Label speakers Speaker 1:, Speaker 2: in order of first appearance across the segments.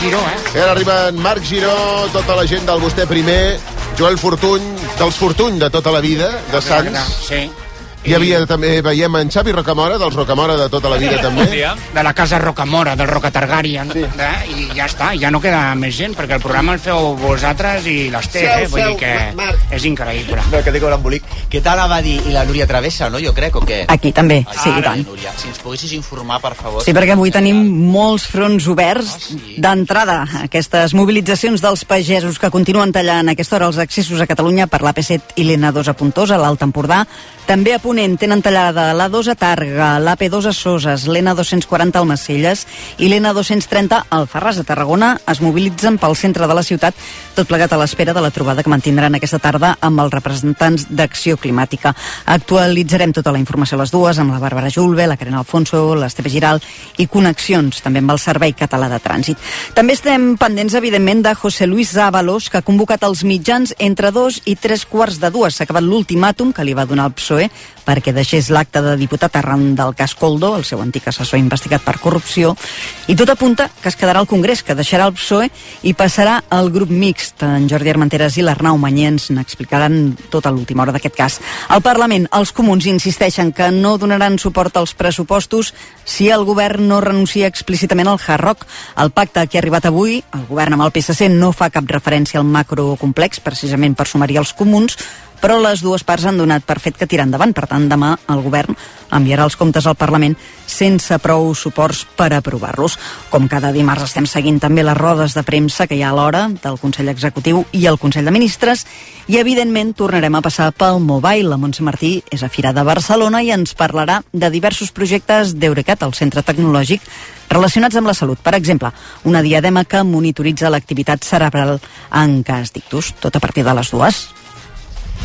Speaker 1: Giró, eh?
Speaker 2: I ara arriben Marc Giró, tota la gent del Vostè Primer, Joel Fortuny, dels Fortuny de tota la vida, de Sants.
Speaker 1: Sí.
Speaker 2: Hi havia també, veiem en Xavi Rocamora, dels Rocamora de tota la vida també.
Speaker 1: De la casa Rocamora, del Roca Targaryen. Eh? I ja està, ja no queda més gent, perquè el programa el feu vosaltres i l'Ester,
Speaker 3: Seu,
Speaker 1: eh? Vull
Speaker 3: seu,
Speaker 1: dir que
Speaker 3: Marc.
Speaker 1: és increïble.
Speaker 3: No, que tinc un embolic. Què tal Abadi i la Núria Travessa, no? Jo crec, o què?
Speaker 4: Aquí també, sí, i
Speaker 3: Ara,
Speaker 4: tant.
Speaker 3: Núria, si ens poguessis informar, per favor.
Speaker 4: Sí, perquè avui tenim molts fronts oberts d'entrada. Aquestes mobilitzacions dels pagesos que continuen tallant a aquesta hora els accessos a Catalunya per l'AP7 i l'N2 a Pontós, a l'Alt Empordà. També a Ponent tenen tallada l'A2 a Tàrrega, l'AP2 a Soses, l'N240 al Macelles i l'N230 al Ferraz a Tarragona. Es mobilitzen pel centre de la ciutat, tot plegat a l'espera de la trobada que mantindran aquesta tarda amb els representants d'Acció Climàtica. Actualitzarem tota la informació a les dues amb la Bàrbara Julve, la Karen Alfonso, l'Esteve Giral i connexions també amb el Servei Català de Trànsit. També estem pendents, evidentment, de José Luis Zábalos, que ha convocat els mitjans entre dos i tres quarts de dues. S'ha acabat l'ultimàtum que li va donar el PSOE perquè deixés l'acte de diputat arran del cas Coldo, el seu antic assessor investigat per corrupció, i tot apunta que es quedarà al Congrés, que deixarà el PSOE i passarà al grup mixt. En Jordi Armenteres i l'Arnau Manyens n'explicaran tota l'última hora d'aquest cas. Al Parlament, els comuns insisteixen que no donaran suport als pressupostos si el govern no renuncia explícitament al hard rock. El pacte a què ha arribat avui, el govern amb el PSC no fa cap referència al macrocomplex, precisament per sumar-hi els comuns, però les dues parts han donat per fet que tira endavant. Per tant, demà el govern enviarà els comptes al Parlament sense prou suports per aprovar-los. Com cada dimarts estem seguint també les rodes de premsa que hi ha a l'hora del Consell Executiu i el Consell de Ministres i, evidentment, tornarem a passar pel Mobile. La Montse Martí és a Fira de Barcelona i ens parlarà de diversos projectes d'Eurecat, el centre tecnològic relacionats amb la salut. Per exemple, una diadema que monitoritza l'activitat cerebral en cas d'ictus. Tot a partir de les dues.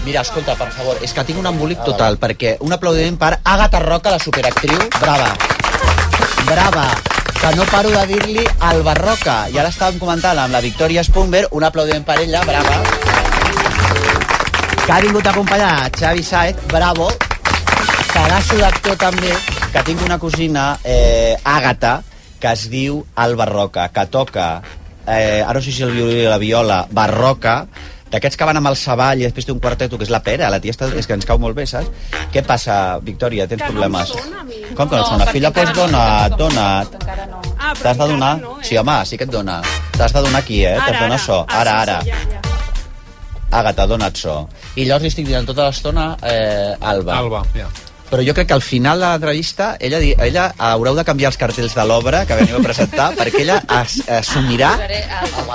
Speaker 3: Mira, escolta, per favor, és que tinc un embolic total, perquè un aplaudiment per Àgata Roca, la superactriu. Brava. Brava. Que no paro de dir-li al Barroca. I ara estàvem comentant amb la Victòria Spunger, un aplaudiment per ella, brava. Que ha vingut a acompanyar a Xavi Saez, bravo. Pedasso d'actor també, que tinc una cosina, eh, Àgata, que es diu Alba Roca, que toca, eh, ara no sé si el violí o la viola, Barroca, d'aquests que van amb el Savall i després té un quarteto que és la pera, la tia està, és que ens cau molt bé, saps? Què passa, Victòria? Tens problemes? Com que no, sona? Filla, doncs dona, dona.
Speaker 5: Ah, però
Speaker 3: T'has de donar?
Speaker 5: encara no, eh? Ah,
Speaker 3: Sí, home, sí que et dona. T'has de donar aquí, eh? T'has de donar so. Ara, ara. Àgata, dona't so. I llavors li estic dient tota l'estona eh, Alba.
Speaker 6: Alba, ja.
Speaker 3: Però jo crec que al final de l'entrevista ella, di- ella haureu de canviar els cartells de l'obra que veniu a presentar perquè ella as, assumirà...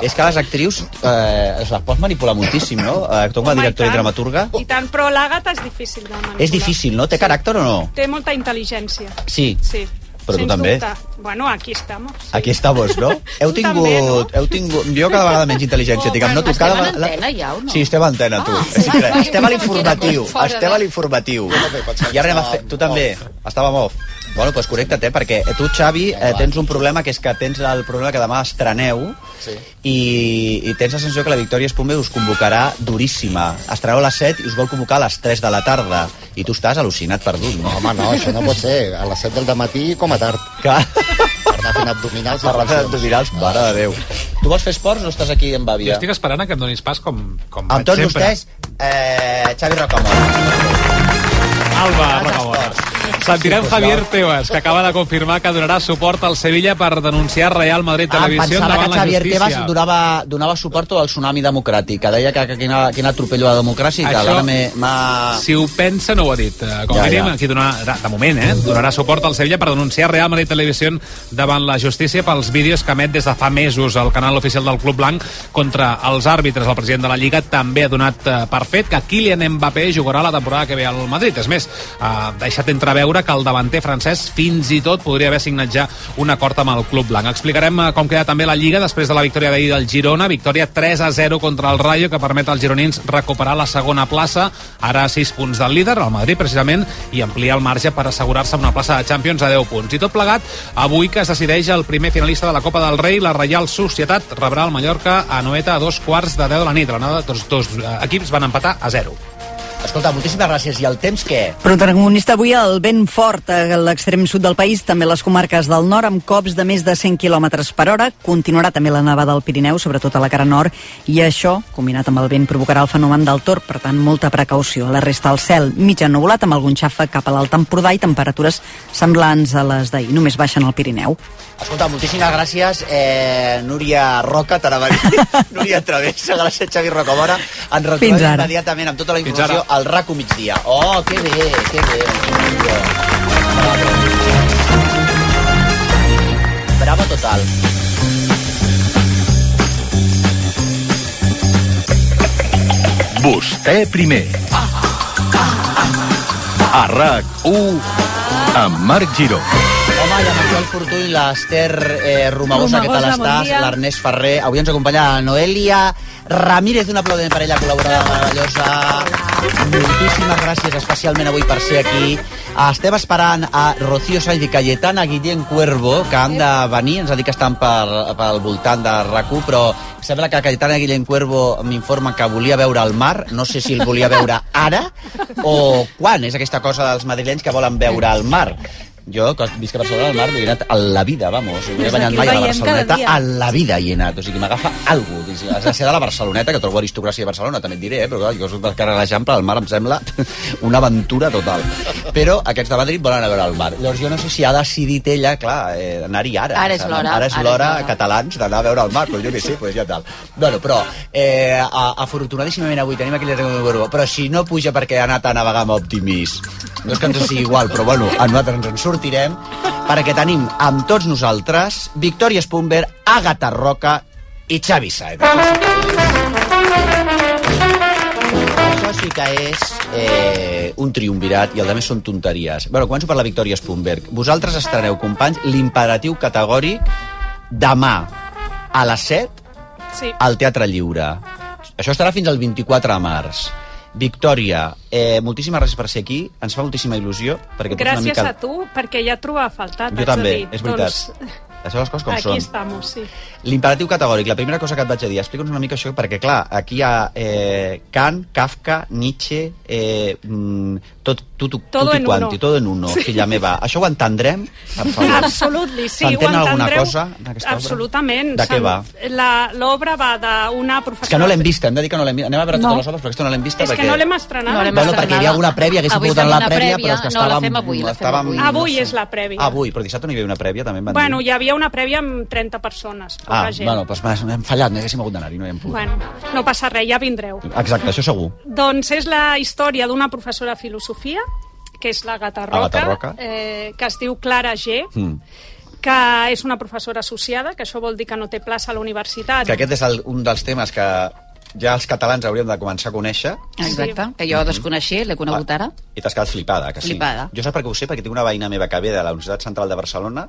Speaker 3: És que les actrius eh, es les pots manipular moltíssim, no? Eh, tu com a
Speaker 5: Home,
Speaker 3: directora i
Speaker 5: i tant.
Speaker 3: dramaturga...
Speaker 5: I tant, però l'àgata és difícil de manipular.
Speaker 3: És difícil, no? Té caràcter o no?
Speaker 5: Té molta intel·ligència,
Speaker 3: Sí.
Speaker 5: sí.
Speaker 3: Però tu també.
Speaker 5: Dubte. Bueno, aquí estamos. Sí.
Speaker 3: Aquí estamos, no? Heu
Speaker 5: Tu també, Oh,
Speaker 3: tingut... Heu tingut... Jo cada vegada menys intel·ligència, tinc. Em noto
Speaker 7: Estem
Speaker 3: cada
Speaker 7: en
Speaker 3: vegada...
Speaker 7: antena ja o no?
Speaker 3: Sí, estem a antena, tu.
Speaker 7: Ah,
Speaker 3: Sí, crec.
Speaker 7: vale.
Speaker 3: estem a l'informatiu.
Speaker 7: Fora de-
Speaker 3: Estem a l'informatiu. I ara anem a fer... Tu també. Estàvem off. Bueno, doncs connecta't, eh? Perquè tu, Xavi, eh, tens un problema que és que tens el problema que demà estreneu sí. i, i tens la sensació que la Victòria Espume us convocarà duríssima. Estreneu a les 7 i us vol convocar a les 3 de la tarda. I tu estàs al·lucinat perdut, no?
Speaker 8: Home, Ah, no, això no pot ser. A les 7 del matí com a tard.
Speaker 3: Que...
Speaker 8: Per anar fent abdominals. i
Speaker 3: Per la
Speaker 8: flexions.
Speaker 3: abdominals, mare de Déu. Tu vols fer esports o estàs aquí amb
Speaker 6: Jo
Speaker 3: bàbia?
Speaker 6: estic esperant a que em donis pas com, com
Speaker 3: Amb tots
Speaker 6: sempre.
Speaker 3: vostès, eh, Xavi Rocamora.
Speaker 6: Alba Rocamora. Sentirem Javier Tebas, que acaba de confirmar que donarà suport al Sevilla per denunciar Real Madrid Televisió
Speaker 3: Ah, pensava
Speaker 6: davant
Speaker 3: que
Speaker 6: la
Speaker 3: Xavier
Speaker 6: justícia.
Speaker 3: Tebas donava, donava suport al tsunami democràtic, que deia que, que quina, quina atropello a la democràcia i tal.
Speaker 6: Això-
Speaker 3: Ara m'he- m'ha...
Speaker 6: Si ho pensa, no ho ha dit. Eh, Com
Speaker 3: Ja,
Speaker 6: ja, diríem,
Speaker 3: ja.
Speaker 6: aquí donarà, de moment, eh, donarà suport al Sevilla per denunciar Real Madrid Televisió davant la justícia pels vídeos que emet des de fa mesos el canal oficial del Club Blanc contra els àrbitres. El president de la Lliga també ha donat eh, per fet que Kylian Mbappé jugarà la temporada que ve al Madrid. És més, ha deixat entreveure que el davanter francès fins i tot podria haver signat ja un acord amb el Club Blanc. Explicarem eh, com queda també la Lliga després de la victòria d'ahir del Girona, victòria 3 a 0 contra el Rayo, que permet als gironins recuperar la segona plaça, ara a 6 punts del líder, el Madrid precisament, i ampliar el marge per assegurar-se una plaça de Champions a 10 punts. I tot plegat, avui que es decideix el primer finalista de la Copa del Rei, la Reial Societat rebrà el Mallorca a Noeta a dos quarts de 10 de la nit. A La nada, tots dos eh, equips van empatar a 0.
Speaker 3: Escolta, moltíssimes gràcies. I el temps què?
Speaker 4: Protagonista avui el vent fort a l'extrem sud del país, també les comarques del nord, amb cops de més de 100 km per hora. Continuarà també la nevada al Pirineu, sobretot a la cara nord, i això, combinat amb el vent, provocarà el fenomen del torb, per tant, molta precaució. A la resta del cel, mitja ennubulat, amb algun xafa cap a l'alt Empordà i temperatures semblants a les d'ahir. Només baixen al Pirineu.
Speaker 3: Escolta, moltíssimes gràcies, eh, Núria Roca, t'anava a dir, Núria Travessa, gràcies, Xavi Rocamora. Ens retrobem
Speaker 4: Fins ara.
Speaker 3: immediatament amb tota la
Speaker 6: Fins
Speaker 3: informació al RACO migdia. Oh, que bé, que bé. Bravo total.
Speaker 7: Vostè primer. A RAC1 amb Marc Giró.
Speaker 3: Home, i amb el Joel Fortuny, l'Ester eh, Romagosa, que tal
Speaker 5: Romagosa, bon
Speaker 3: estàs?
Speaker 5: dia.
Speaker 3: L'Ernest Ferrer. Avui ens acompanya Noelia Ramírez, un aplaudiment per ella, col·laboradora meravellosa. Moltíssimes gràcies especialment avui per ser aquí. Estem esperant a Rocío Sáenz i Cayetana Guillén Cuervo, que han de venir, ens ha dit que estan per, pel voltant de rac però sembla que Cayetana Guillén Cuervo m'informa que volia veure el mar, no sé si el volia veure ara o quan, és aquesta cosa dels madrilenys que volen veure el mar. Jo, que visc a Barcelona al mar, no hi he anat a la vida, vamos. No he
Speaker 9: Des
Speaker 3: banyat
Speaker 9: d'aquí
Speaker 3: mai a la
Speaker 9: veiem
Speaker 3: Barceloneta,
Speaker 9: cada dia.
Speaker 3: a la vida hi he anat. O sigui, m'agafa algú. Dic, Has de ser de la Barceloneta, que trobo aristocràcia a Barcelona, també et diré, eh? però clar, jo soc del carrer de l'Eixample, el mar em sembla una aventura total. Però aquests de Madrid volen anar a veure el mar. Llavors jo no sé si ha decidit ella, clar, eh, anar-hi ara.
Speaker 9: Ara és
Speaker 3: O sigui,
Speaker 9: l'hora,
Speaker 3: Ara és
Speaker 9: ara és
Speaker 3: l'hora,
Speaker 9: l'hora.
Speaker 3: catalans, d'anar a veure el mar, però jo què sé, doncs ja tal. Bueno, però eh, a- afortunadíssimament avui tenim aquell de Gorbo, però si no puja perquè ha anat a navegar amb Optimis, no és que ens sigui igual, però bueno, a nosaltres ens en sortirem, perquè tenim amb tots nosaltres Victòria Spumber, Àgata Roca i Xavi Saez. Això sí que és eh, un triomvirat i el de més són tonteries. Bueno, començo per la Victòria Spunberg. Vosaltres estreneu, companys, l'imperatiu categòric demà a les 7
Speaker 5: Sí.
Speaker 3: al Teatre Lliure. Això estarà fins al 24 de març. Victòria, eh, moltíssimes gràcies per ser aquí. Ens fa moltíssima il·lusió. Perquè tu ets
Speaker 5: Gràcies
Speaker 3: una mica...
Speaker 5: a tu, perquè ja et trobava a faltar. t'haig
Speaker 3: Jo
Speaker 5: de
Speaker 3: també,
Speaker 5: dir.
Speaker 3: és veritat.
Speaker 5: Doncs,
Speaker 3: Les seves coses com
Speaker 5: aquí
Speaker 3: són.
Speaker 5: estamos, sí.
Speaker 3: L'imperatiu categòric, la primera cosa que et vaig a dir, explica'ns una mica això, perquè clar, aquí hi ha eh, Kant, Kafka, Nietzsche, eh, mm, tot, tu, tu,
Speaker 5: Todo
Speaker 3: tutti
Speaker 5: en
Speaker 3: quanti,
Speaker 5: uno.
Speaker 3: todo en uno, filla meva. Això ho entendrem, per favor.
Speaker 5: Absolutament, sí, ho
Speaker 3: S'entén alguna
Speaker 5: entendreu.
Speaker 3: cosa en aquesta obra?
Speaker 5: Absolutament.
Speaker 3: De què
Speaker 5: Se'n-
Speaker 3: va?
Speaker 5: la- L'obra va d'una
Speaker 3: És
Speaker 5: professora...
Speaker 3: que no l'hem vista, hem de dir que no l'hem vista. Anem a veure
Speaker 5: No.
Speaker 3: totes les obres, però aquesta no l'hem vista
Speaker 5: És
Speaker 3: perquè...
Speaker 5: que no l'hem estrenat.
Speaker 9: No l'hem
Speaker 3: Bueno,
Speaker 9: estrenada.
Speaker 3: perquè hi havia alguna prèvia, haguéssim
Speaker 9: Avui
Speaker 3: pogut anar a la
Speaker 9: fem una
Speaker 3: prèvia, però és que
Speaker 9: prèvia. No, la
Speaker 3: estàvem...
Speaker 9: fem avui, la fem
Speaker 3: estàvem-
Speaker 9: avui.
Speaker 5: Avui
Speaker 3: sé.
Speaker 5: és la prèvia.
Speaker 3: Avui, però dissabte no hi havia una prèvia, també em van
Speaker 5: Bueno,
Speaker 3: dir.
Speaker 5: hi havia una prèvia amb 30 persones, poca
Speaker 3: Ah,
Speaker 5: gent.
Speaker 3: bueno, doncs m'hem fallat, no haguéssim hagut d'anar-hi, no hi hem pogut.
Speaker 5: Bueno, no passa res, ja vindreu.
Speaker 3: Exacte, això segur.
Speaker 5: Doncs és la història d'una professora de filosofia, que és la Gata Roca,
Speaker 3: Gata Roca.
Speaker 5: Eh, que es diu Clara G,
Speaker 3: Mm.
Speaker 5: que és una professora associada, que això vol dir que no té plaça a la universitat.
Speaker 3: que aquest és el, un dels temes que ja els catalans hauríem de començar a conèixer
Speaker 9: Exacte, que jo desconeixia, l'he conegut ara.
Speaker 3: i t'has quedat flipada, que sí.
Speaker 9: Flipada.
Speaker 3: Jo saps per què ho sé? Perquè tinc una veïna meva que ve de la Universitat Central de Barcelona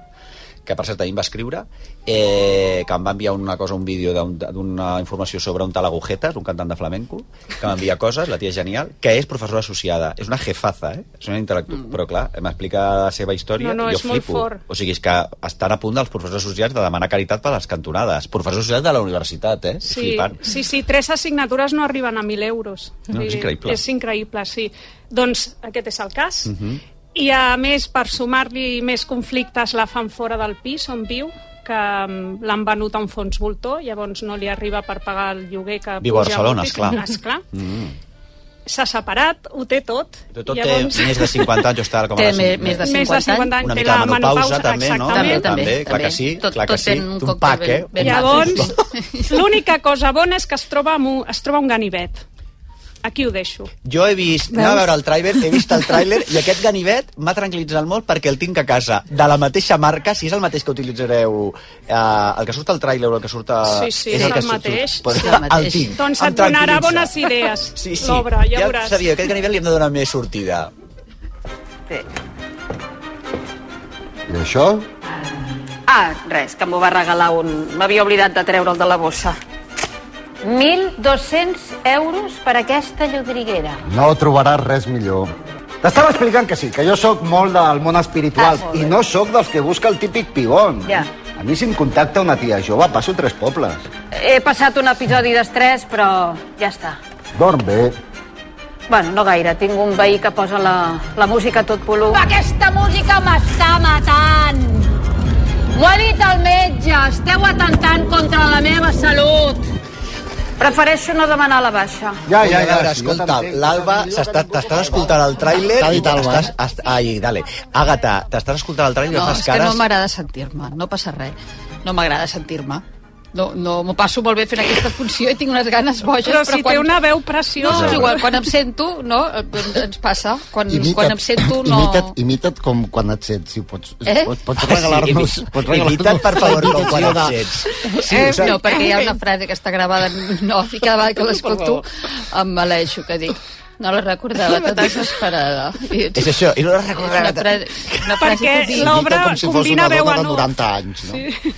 Speaker 3: que per cert ahir em va escriure eh, que em va enviar una cosa, un vídeo d'un- d'una informació sobre un tal Agujetas un cantant de flamenco, que m'envia coses la tia és genial, que és professora associada és una jefaza, eh? és una intel·lectual mm. però clar, m'explica la seva història
Speaker 5: No, no,
Speaker 3: i jo
Speaker 5: és molt
Speaker 3: flipo,
Speaker 5: fort.
Speaker 3: o sigui, és que estan a punt dels professors associats de demanar caritat per les cantonades professors associats de la universitat, eh? És
Speaker 5: Sí,
Speaker 3: flipant.
Speaker 5: sí, sí, tres assignatures no arriben a 1.000 euros.
Speaker 3: No, és
Speaker 5: Vull dir,
Speaker 3: increïble.
Speaker 5: És increïble, sí. Doncs aquest és el cas.
Speaker 10: Mm-hmm.
Speaker 5: I a més, per sumar-li més conflictes, la fan fora del pis on viu, que mm, l'han venut a un fons voltor, llavors no li arriba per pagar el lloguer que
Speaker 3: Viu a Barcelona,
Speaker 5: moltíssim.
Speaker 3: esclar.
Speaker 5: esclar. S'ha separat, ho té tot.
Speaker 3: De tot
Speaker 5: doncs.
Speaker 3: té més de 50 anys, jo estava com
Speaker 9: Té
Speaker 3: ara
Speaker 9: més-
Speaker 3: cinc-
Speaker 9: més de
Speaker 5: Més de 50 anys,
Speaker 3: Una
Speaker 5: té
Speaker 3: mica
Speaker 5: la
Speaker 3: de menopausa, també, no?
Speaker 5: exactament.
Speaker 9: També, també,
Speaker 3: clar que
Speaker 9: també.
Speaker 3: sí,
Speaker 9: Tot-
Speaker 3: clar que
Speaker 9: tot
Speaker 3: sí.
Speaker 9: en un
Speaker 3: Té un
Speaker 9: còctel
Speaker 3: pack,
Speaker 9: ben-
Speaker 3: eh?
Speaker 9: ben
Speaker 5: Llavors,
Speaker 9: maco.
Speaker 5: l'única cosa bona és que es troba, amb un, es troba un ganivet. Aquí ho deixo.
Speaker 3: Jo he vist, anava a veure el tràiler, he vist el tràiler i aquest ganivet m'ha tranquil·litzat molt perquè el tinc a casa, de la mateixa marca, si és el mateix que utilitzareu, eh, el que surt al tràiler o el que surt a...
Speaker 5: Sí, sí, és
Speaker 3: que
Speaker 5: el mateix.
Speaker 3: Pues,
Speaker 9: Sí, el
Speaker 3: el
Speaker 9: mateix.
Speaker 3: tinc.
Speaker 5: Doncs
Speaker 3: Em
Speaker 5: et donarà
Speaker 3: tranquil·litza.
Speaker 5: bones idees,
Speaker 3: Sí, sí.
Speaker 5: l'obra, ja,
Speaker 3: ja
Speaker 5: veuràs.
Speaker 3: sabia, aquest ganivet li hem de donar més sortida.
Speaker 2: I això?
Speaker 11: Ah, res, que m'ho va regalar un... M'havia oblidat de treure'l de la bossa.
Speaker 12: 1.200 euros per aquesta llodriguera.
Speaker 13: No trobaràs res millor. T'estava explicant que sí, que jo sóc molt del món espiritual
Speaker 12: Ah, molt bé.
Speaker 13: i no sóc dels que busca el típic pigón.
Speaker 12: Ja.
Speaker 13: A mi si em contacta una tia jove passo tres pobles.
Speaker 12: He passat un episodi d'estrès, però ja està.
Speaker 13: Dorm bé,
Speaker 11: Bueno, no gaire. Tinc un veí que posa la, la música a tot volum.
Speaker 12: Aquesta música m'està matant. M'ho ha dit el metge. Esteu atentant contra la meva salut.
Speaker 11: Prefereixo no demanar la baixa.
Speaker 3: Ja, ja, ja. Escolta, l'Alba, s'està- t'estàs escoltant el tràiler...
Speaker 8: T'ha
Speaker 3: i
Speaker 8: dit Alba,
Speaker 3: estàs- est- Ai, dale. Àgata, t'estàs escoltant el tràiler i
Speaker 9: No,
Speaker 3: fas
Speaker 9: és que no
Speaker 3: cares...
Speaker 9: m'agrada sentir-me, no passa res. No m'agrada sentir-me. No, no, m'ho passo molt bé fent aquesta funció i tinc unes ganes boges,
Speaker 5: Però
Speaker 9: però,
Speaker 5: si
Speaker 9: quan...
Speaker 5: té una veu
Speaker 9: No,
Speaker 5: preciosa.
Speaker 9: és igual, quan em sento, no, em- ens passa. Quan, Doncs quan em sento, no...
Speaker 8: Imita't, imita't com quan et sents, si pots.
Speaker 9: Eh?
Speaker 8: Pots, pots regalar-nos...
Speaker 3: Sí,
Speaker 8: pots
Speaker 3: imi-
Speaker 8: regalar-nos
Speaker 3: imita't, per favor,
Speaker 8: la
Speaker 3: com quan et
Speaker 8: imitació de-
Speaker 3: sents.
Speaker 9: Sí, eh, no, perquè hi ha una frase que està gravada en off i cada vegada que l'escolto em maleixo, que dic no la recordava tot desesperada. I,
Speaker 8: És això, i no la recordava.
Speaker 9: Una frase, una frase
Speaker 5: Perquè
Speaker 9: que dic.
Speaker 5: l'obra
Speaker 8: Imita com si fos
Speaker 5: combina
Speaker 8: una
Speaker 5: veu
Speaker 8: dona
Speaker 5: en
Speaker 8: de
Speaker 5: u.
Speaker 8: 90 anys, no? Sí.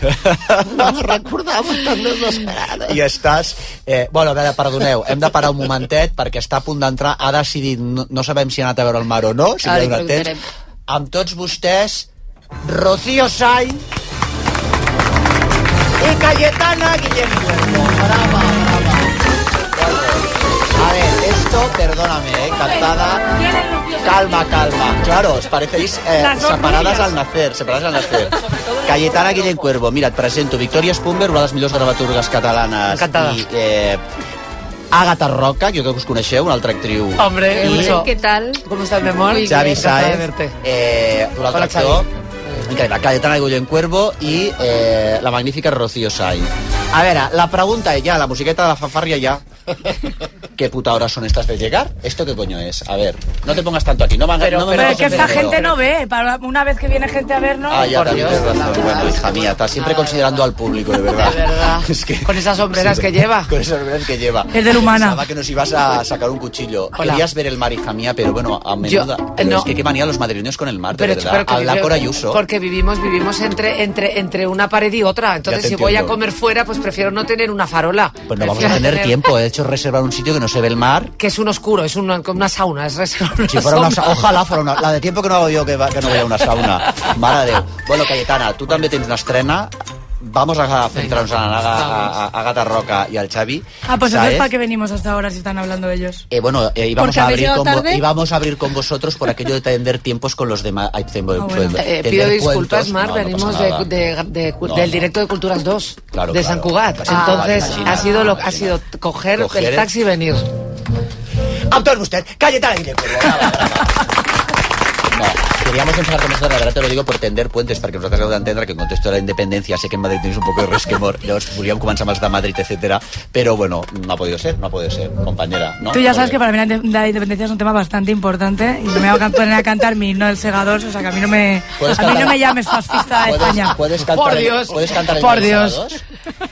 Speaker 8: No la recordava tan desesperada.
Speaker 3: i estàs... Eh, bueno, a veure, perdoneu, hem de parar un momentet perquè està a punt d'entrar, ha decidit, no, no sabem si ha anat a veure el mar o no, si
Speaker 9: Ara
Speaker 3: li
Speaker 9: hi
Speaker 3: ha donat
Speaker 9: preguntarem.
Speaker 3: temps. Amb tots vostès, Rocío Sainz i Cayetana Guillem Cuervo. Brava, brava. A ver, esto, perdóname, eh, cantada. Calma, calma. Claro, os parecéis eh,
Speaker 5: Las dos
Speaker 3: separadas
Speaker 5: niñas.
Speaker 3: al nacer, separadas al nacer. Cayetana Guillén Cuervo, mira, et presento Victòria Spumber, una de les millors dramaturgues catalanes.
Speaker 14: Encantada.
Speaker 3: I, eh, Àgata Roca, jo crec que us coneixeu, una altra actriu.
Speaker 14: Hombre,
Speaker 3: I-
Speaker 14: mucho.
Speaker 9: ¿Qué tal?
Speaker 14: ¿Cómo estás, mi amor?
Speaker 3: Xavi
Speaker 14: Encantada de
Speaker 3: Saez,
Speaker 14: verte.
Speaker 3: eh, un altre
Speaker 14: Hola,
Speaker 3: actor. Increïble, Cayetana Guillén Cuervo i eh, la magnífica Rocío Sainz. A veure, la pregunta és ja, la musiqueta de la fanfarria ja. ¿Qué puta hora son estas de llegar? ¿Esto qué coño es? A ver, no te pongas tanto aquí. No, me- no me
Speaker 14: Pero
Speaker 3: metas
Speaker 14: es que
Speaker 3: en
Speaker 14: esta
Speaker 3: verguero.
Speaker 14: gente no ve. Para una vez que viene gente a vernos.
Speaker 3: Ah, ya,
Speaker 14: por
Speaker 3: también
Speaker 14: Dios. Ah,
Speaker 3: tienes razón. Bueno, hija mía, estás siempre considerando al público, de verdad.
Speaker 14: De verdad.
Speaker 3: Es que...
Speaker 14: Con esas sombreras que lleva.
Speaker 3: Con esas sombreras que lleva.
Speaker 14: Es del humana.
Speaker 3: Pensaba que nos ibas a sacar un cuchillo.
Speaker 14: Hola.
Speaker 3: Querías ver el mar, hija mía, pero bueno, a
Speaker 14: Yo- eh,
Speaker 3: menudo... pero
Speaker 14: no.
Speaker 3: es que qué manía los madrileños con el mar, de verdad.
Speaker 14: pero que
Speaker 3: Habla
Speaker 14: vive-
Speaker 3: por Ayuso.
Speaker 14: Porque vivimos, vivimos entre, entre, entre una pared y otra. Entonces,
Speaker 3: te
Speaker 14: si voy a
Speaker 3: entiendo.
Speaker 14: comer fuera, pues prefiero no tener una farola.
Speaker 3: Pues no vamos a
Speaker 14: Prefiero
Speaker 3: tener tiempo. He hecho reservar un sitio que no se ve el mar.
Speaker 14: Que es un oscuro, es una, como una sauna. Es reserva- una
Speaker 3: Si fuera una
Speaker 14: sombra.
Speaker 3: sa- Ojalá fuera una... La de tiempo que no hago yo que, va- que no voy a una
Speaker 14: Ah,
Speaker 3: sauna. Mare de Déu. Bueno, Cayetana, tu també tens una estrena. Vamos a centrarnos en Aga- a, a, a Gata Roca y al Xavi.
Speaker 15: Ah, pues
Speaker 3: ¿sabes?
Speaker 15: entonces, ¿para qué venimos hasta ahora si están hablando ellos?
Speaker 3: Eh, bueno, eh, íbamos,
Speaker 15: Porque
Speaker 3: a
Speaker 15: habéis
Speaker 3: abrir
Speaker 15: llegado
Speaker 3: con vo-
Speaker 15: tarde.
Speaker 3: íbamos a abrir con vosotros por aquello de tender tiempos con los demás. Ay, tem-
Speaker 14: Bueno,
Speaker 3: tender-
Speaker 14: eh,
Speaker 3: tender
Speaker 14: pido
Speaker 3: cuentos.
Speaker 14: disculpas, Mar,
Speaker 3: No, no
Speaker 14: venimos
Speaker 3: pasa nada.
Speaker 14: de, de- de-
Speaker 3: No,
Speaker 14: del
Speaker 3: no.
Speaker 14: directo de Culturas 2,
Speaker 3: Claro,
Speaker 14: de
Speaker 3: claro.
Speaker 14: San Cugat.
Speaker 3: Ah,
Speaker 14: Entonces,
Speaker 3: imagina,
Speaker 14: ha sido, lo, ha sido coger,
Speaker 3: Coger el-
Speaker 14: el taxi y venir.
Speaker 3: ¡A todos ustedes! ¡Cayetana Guillén Cuervo! brava, brava. No, Queríamos empezar con esto, la verdad te lo digo por tender puentes, perquè nosaltres heu d'entendre que en contexto de la independencia sé que en Madrid tenéis un poco de resquemor, llavors volíem començar amb els de Madrid, etcètera, però bueno, no ha podido ser, no ha podido ser, compañera, no?
Speaker 15: Tú ya sabes
Speaker 3: Porque-
Speaker 15: que para mí la inde- la independencia es un tema bastante importante y me voy a poner a cantar mi himno del segador, o sea que a mí no me,
Speaker 3: Puedes
Speaker 15: a mí no
Speaker 3: cantar-
Speaker 15: me llames fascista de
Speaker 3: puedes-
Speaker 15: España.
Speaker 3: puedes cantar
Speaker 15: Por
Speaker 3: el-
Speaker 15: Dios.
Speaker 3: puedes cantar el
Speaker 15: Por
Speaker 3: himno del
Speaker 15: Dios.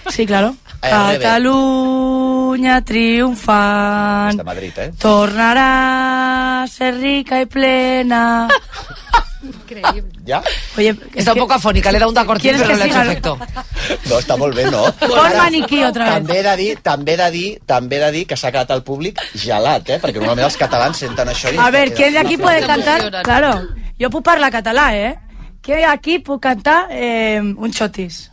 Speaker 15: Sí, claro.
Speaker 3: Eh, al revés.
Speaker 15: Cataluña triunfan.
Speaker 3: Hasta Madrid, eh?
Speaker 15: Tornará a ser rica y plena.
Speaker 3: Ja?
Speaker 15: Oye,
Speaker 14: Está un poco afónica, le da un da cortín,
Speaker 15: ¿Quieres
Speaker 14: pero
Speaker 15: que
Speaker 14: no le ha hecho
Speaker 15: siga?
Speaker 14: efecto.
Speaker 3: No, està molt bé, no?
Speaker 15: Pon maniquí otra vez.
Speaker 3: També he de dir, també he de dir, també he de dir que s'ha quedat el públic gelat, eh? Perquè normalment els catalans senten això i...
Speaker 15: A ver, ¿quién de aquí puede cantar? Claro, yo puedo hablar catalá, ¿eh? ¿Quién de aquí puede cantar eh, un chotis?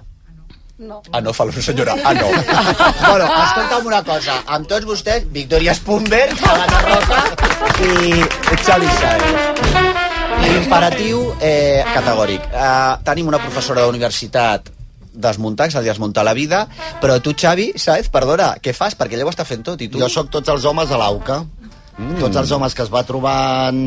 Speaker 3: Ah, no, fa l'hora, senyora. Ah, no. bueno, escolta'm una cosa. Amb tots vostès, Victòria Spunber, Alana Roca i Xavi Saez. Imperatiu eh, categòric. Uh, tenim una professora d'universitat desmuntar, és a dir, desmuntar la vida, però tu, Xavi, Saez, perdona, què fas? Perquè ella ho està fent tot, i tu...
Speaker 8: Jo sóc tots els homes de l'AUCA. Mm. Tots els homes que es va trobant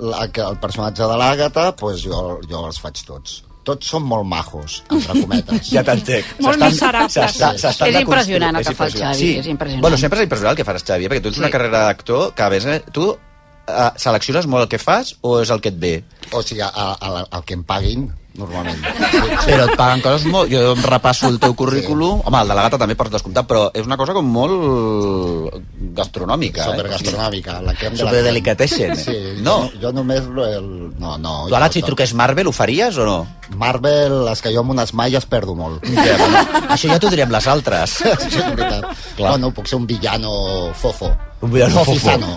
Speaker 8: la, que el personatge de l'Àgata, doncs jo, jo els faig tots. Tots són molt majos, entre cometes.
Speaker 3: Ja t'entenc.
Speaker 8: Molt
Speaker 3: S'estan-
Speaker 8: miserables.
Speaker 3: s'està- s'estan
Speaker 9: És
Speaker 3: de
Speaker 9: impressionant el
Speaker 3: construir-
Speaker 9: que
Speaker 3: és
Speaker 9: fa el
Speaker 3: impressionant.
Speaker 9: Xavi, és impressionant.
Speaker 3: Bueno, sempre és impressionant el que faràs, Xavi, perquè tu ets una carrera d'actor que, a més, eh, tu eh, selecciones molt el que fas o és el que et ve?
Speaker 8: O sigui, a, a, a, el que em paguin, normalment.
Speaker 3: Però et paguen coses molt... Jo em repasso el teu currículum. Home, el de la gata també per descomptat, però és una cosa com molt gastronòmica.
Speaker 8: Supergastronòmica,
Speaker 3: Eh?
Speaker 8: la crem de la
Speaker 3: Superdelicatessen.
Speaker 8: Sí,
Speaker 3: no.
Speaker 8: Jo, jo només... El, no, no.
Speaker 3: Tu ara si truques Marvel ho faries o no?
Speaker 8: Marvel, les que jo amb unes malles perdo molt.
Speaker 3: Ja, bueno, això ja t'ho direm les altres.
Speaker 8: Sí, és veritat. Clar. Bueno, puc ser un villano fofo.
Speaker 3: Vull dir, el
Speaker 8: Un
Speaker 3: fofo.
Speaker 8: fofisano.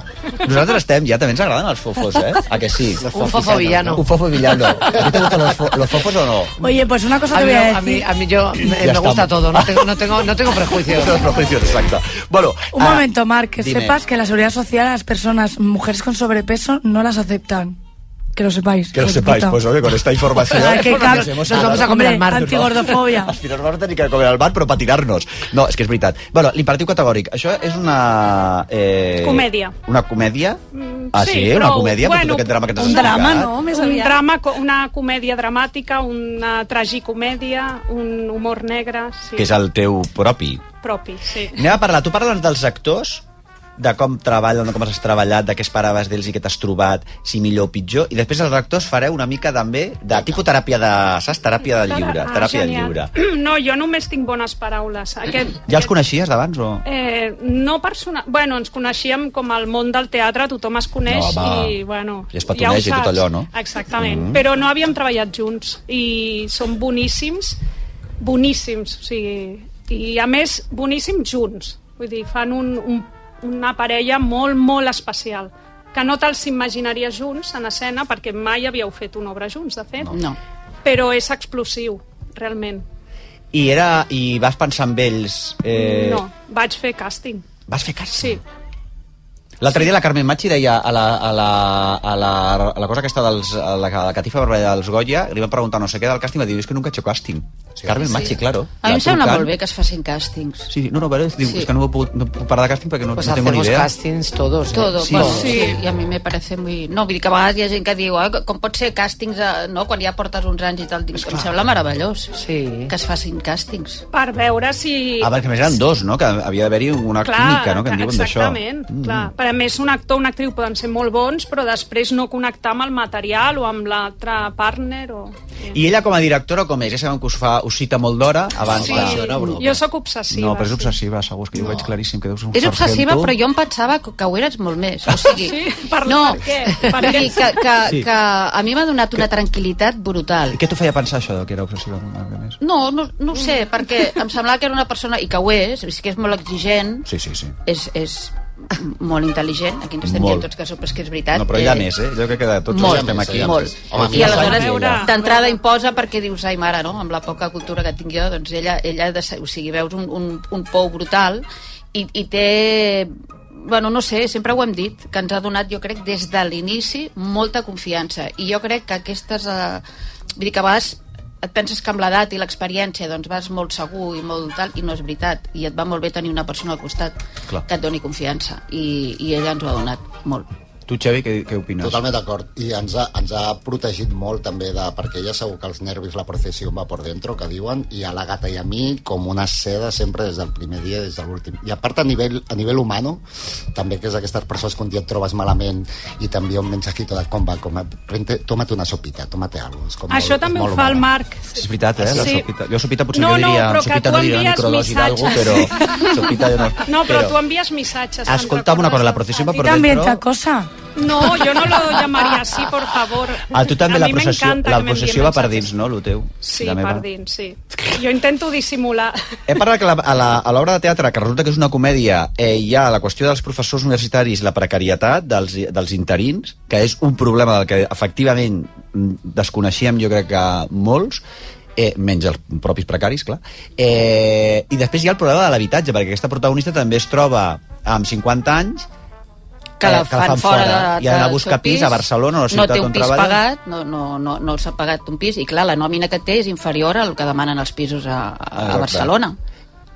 Speaker 3: Nosaltres estem, ja també ens agraden els fofos, eh? A que sí?
Speaker 14: Un fofo villano.
Speaker 3: Un fofo villano. ¿A ti te gustan los, fo- los fofos o no?
Speaker 15: Oye, pues una cosa
Speaker 14: A
Speaker 15: te
Speaker 14: mí,
Speaker 15: voy a decir.
Speaker 14: a mí, a mí yo me, me
Speaker 3: estamos.
Speaker 14: gusta todo, no tengo, no tengo, no tengo prejuicios.
Speaker 3: Los prejuicios, exacto. Bueno,
Speaker 15: Un
Speaker 3: ah,
Speaker 15: momento, Marc, que
Speaker 3: dime.
Speaker 15: sepas que la seguridad social a las personas, mujeres con sobrepeso, no las aceptan. Que lo sepáis.
Speaker 3: Que lo
Speaker 15: hijos de
Speaker 3: sepáis,
Speaker 15: puta.
Speaker 3: pues oye, con esta información...
Speaker 15: Ay, qué cap-
Speaker 3: nos hemos
Speaker 15: nos vamos
Speaker 3: quedado-
Speaker 15: a comer al mar, Hombre, ¿no? antigordofòbia.
Speaker 3: Al final vam tenir que comer al mar, però per tirar-nos. No, és que és veritat. Bueno, l'imperatiu categòric. Això és una... Eh,
Speaker 5: Comèdia.
Speaker 3: Una comèdia?
Speaker 5: Mm,
Speaker 3: Ah, sí? Una comèdia? Per tot aquest drama que t'has explicat.
Speaker 5: Més Ah, un drama, co- una comèdia dramàtica, una tragicomèdia, un humor negre... Sí.
Speaker 3: Que és el teu propi.
Speaker 5: Propi, sí.
Speaker 3: Anem a parlar. Tu parles dels actors, de com treballen, de com has treballat, de què esperaves d'ells i què t'has trobat, si millor o pitjor, i després els actors fareu una mica també de tipus teràpia de... Saps? Teràpia de lliure.
Speaker 5: Ah,
Speaker 3: Teràpia de
Speaker 5: genial.
Speaker 3: lliure.
Speaker 5: No, jo només tinc bones paraules. Aquest,
Speaker 3: Ja els coneixies d'abans o...?
Speaker 5: Eh, no persona... Bueno, ens coneixíem com al món del teatre, tothom es
Speaker 3: No,
Speaker 5: coneix
Speaker 3: home.
Speaker 5: i, bueno...
Speaker 3: I es petoneja
Speaker 5: ho
Speaker 3: i tot
Speaker 5: saps.
Speaker 3: allò, no?
Speaker 5: Exactament.
Speaker 3: Mhm.
Speaker 5: Mm. Però no havíem treballat junts i som boníssims, boníssims, o sigui... I, a més, boníssims junts. Vull dir, fan un, un, una parella molt, molt especial que no te'ls imaginaria junts en escena perquè mai havíeu fet una obra junts, de fet.
Speaker 9: No.
Speaker 5: Però és explosiu, realment.
Speaker 3: I, era, I vas pensar amb ells... Eh,
Speaker 5: No, vaig fer càsting.
Speaker 3: Vas fer
Speaker 5: càsting? Sí.
Speaker 3: L'altre dia la Carmen Machi deia a la, a la, a la, a la cosa aquesta dels, a la, a la catifa vermella dels Goya, li van preguntar no sé què del càsting, va dir, és que nunca he hecho càsting. Sí, Carmen
Speaker 9: Sí.
Speaker 3: Machi, claro.
Speaker 9: A mi
Speaker 3: La
Speaker 9: em sembla
Speaker 3: truquen.
Speaker 9: molt bé que es facin càstings.
Speaker 3: Sí, no, no, però diu,
Speaker 9: Sí.
Speaker 3: sí. és que no, he pogut, no puc parar de càsting perquè no,
Speaker 14: Pues
Speaker 3: no tengo ni
Speaker 14: hacemos
Speaker 3: idea.
Speaker 14: castings todos. ¿eh?
Speaker 9: Todo,
Speaker 3: Sí,
Speaker 9: sí, bueno,
Speaker 3: no.
Speaker 9: sí. i a mi me parece muy... No, vull dir que a vegades hi ha gent que diu, ah, com pot ser càstings, eh, no?, quan ja portes uns anys i tal, dic, em sembla meravellós sí. que es facin càstings.
Speaker 5: Per veure si...
Speaker 3: Ah, perquè a més eren dos, no? Que havia d'haver-hi una
Speaker 5: Clar,
Speaker 3: química, no? Que en diuen d'això.
Speaker 5: Exactament, mm. clar. Per a més, un actor o una actriu poden ser molt bons, però després no connectar amb el material o amb l'altre partner o...
Speaker 3: I ella com a directora com és? Ja sabem que us, fa, us cita molt d'hora abans
Speaker 5: Sí,
Speaker 3: de...
Speaker 5: jo sóc obsessiva.
Speaker 3: no, però és obsessiva, segur, és que jo ho veig claríssim. Que deus
Speaker 9: És obsessiva, però jo em pensava que, que ho eres molt més. O sigui,
Speaker 5: Sí? Per,
Speaker 9: no,
Speaker 5: per què? Per
Speaker 9: vull
Speaker 5: què?
Speaker 9: dir que, que,
Speaker 3: Sí.
Speaker 9: que a mi m'ha donat una tranquil·litat brutal.
Speaker 3: I què t'ho feia pensar, això, que era obsessiva? a més?
Speaker 9: No, no, no ho sé, perquè em semblava que era una persona, i que ho és, és que és molt exigent,
Speaker 3: Sí, sí, sí.
Speaker 9: és, és molt intel·ligent, aquí ens estem
Speaker 3: Molt.
Speaker 9: dient tots que, som, però és que és veritat.
Speaker 3: No, però ella més, eh? Jo crec que de tots
Speaker 9: Molt,
Speaker 3: els que estem aquí... Oh.
Speaker 9: molt.
Speaker 3: Home,
Speaker 9: I
Speaker 3: no
Speaker 9: aleshores
Speaker 3: saps ella.
Speaker 9: d'entrada imposa perquè dius, ai mare, no? amb la poca cultura que tinc jo, doncs ella, ella de, o sigui, veus un, un, un pou brutal i, i té bueno, no sé, sempre ho hem dit, que ens ha donat, jo crec, des de l'inici, molta confiança. I jo crec que aquestes... Eh, vull dir que a vegades et penses que amb l'edat i l'experiència doncs vas molt segur i molt tal, i no és veritat. I et va molt bé tenir una persona al costat
Speaker 8: Clar.
Speaker 9: que et doni confiança. I, i ella ens ho ha donat molt.
Speaker 3: Tu, Xavi, què, què opines?
Speaker 8: Totalment d'acord. I ens ha, ens ha protegit molt també de, perquè ella segur que els nervis, la processió va por dentro, que diuen, i a la gata i a mi com una seda sempre des del primer dia, des de l'últim. I a part a nivell, a nivell humano, també que és aquestes persones que un dia et trobes malament i t'envia un mensajito de com va, com va, prente, toma't una sopita, tomate algo. És com
Speaker 5: Això també ho fa el Marc.
Speaker 3: És veritat, eh? La
Speaker 5: Sí.
Speaker 3: sopita. Jo sopita potser
Speaker 5: No,
Speaker 3: no, jo
Speaker 5: no,
Speaker 3: diria...
Speaker 5: però que
Speaker 3: sopita
Speaker 5: tu
Speaker 3: no diria
Speaker 5: envies
Speaker 3: microdosi d'algú, però
Speaker 5: missatges.
Speaker 3: sopita jo no...
Speaker 5: No, però tu envies missatges. te'n
Speaker 3: Escolta'm una cosa, la processió va
Speaker 15: ¿Y
Speaker 3: por
Speaker 15: también
Speaker 3: dentro...
Speaker 15: esta cosa?
Speaker 5: recordes? No, jo no lo llamaria así, por favor.
Speaker 3: A Ah, tu també
Speaker 5: a
Speaker 3: la
Speaker 5: mi
Speaker 3: processió,
Speaker 5: m'encanta
Speaker 3: la
Speaker 5: que m'enviïn
Speaker 3: processió va per
Speaker 5: missatges.
Speaker 3: dins, no, lo teu?
Speaker 5: Sí,
Speaker 3: I la meva?
Speaker 5: per dins, sí. Jo intento dissimular.
Speaker 3: He parlat que la, a la- a l'obra de teatre, que resulta que és una comèdia, eh, hi ha la qüestió dels professors universitaris, la precarietat dels, dels interins, que és un problema del que efectivament mm, desconeixíem jo crec que molts, eh, menys els propis precaris, clar. Eh, I després hi ha el problema de l'habitatge, perquè aquesta protagonista també es troba amb 50 anys
Speaker 9: que la,
Speaker 3: eh,
Speaker 9: fan, fora, de,
Speaker 3: i ha d'anar a
Speaker 9: del
Speaker 3: buscar
Speaker 9: seu
Speaker 3: pis a Barcelona o a la ciutat
Speaker 9: no té un
Speaker 3: on
Speaker 9: pis
Speaker 3: treballa.
Speaker 9: pagat no, no, no, no s'ha pagat un pis i clar, la nòmina que té és inferior al que demanen els pisos a, a,
Speaker 3: Exacte.
Speaker 9: a Barcelona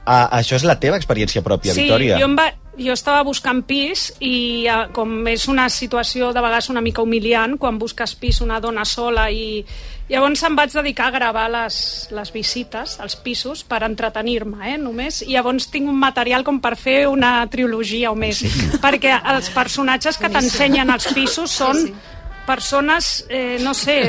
Speaker 3: Ah, això és la teva experiència pròpia,
Speaker 5: sí,
Speaker 3: Victòria.
Speaker 5: jo, em va, jo estava buscant pis i eh, com és una situació de vegades una mica humiliant quan busques pis una dona sola i llavors em vaig dedicar a gravar les, les visites als pisos per entretenir-me, eh, només i llavors tinc un material com per fer una trilogia o més, perquè els personatges que t'ensenyen als pisos són persones, eh, no sé,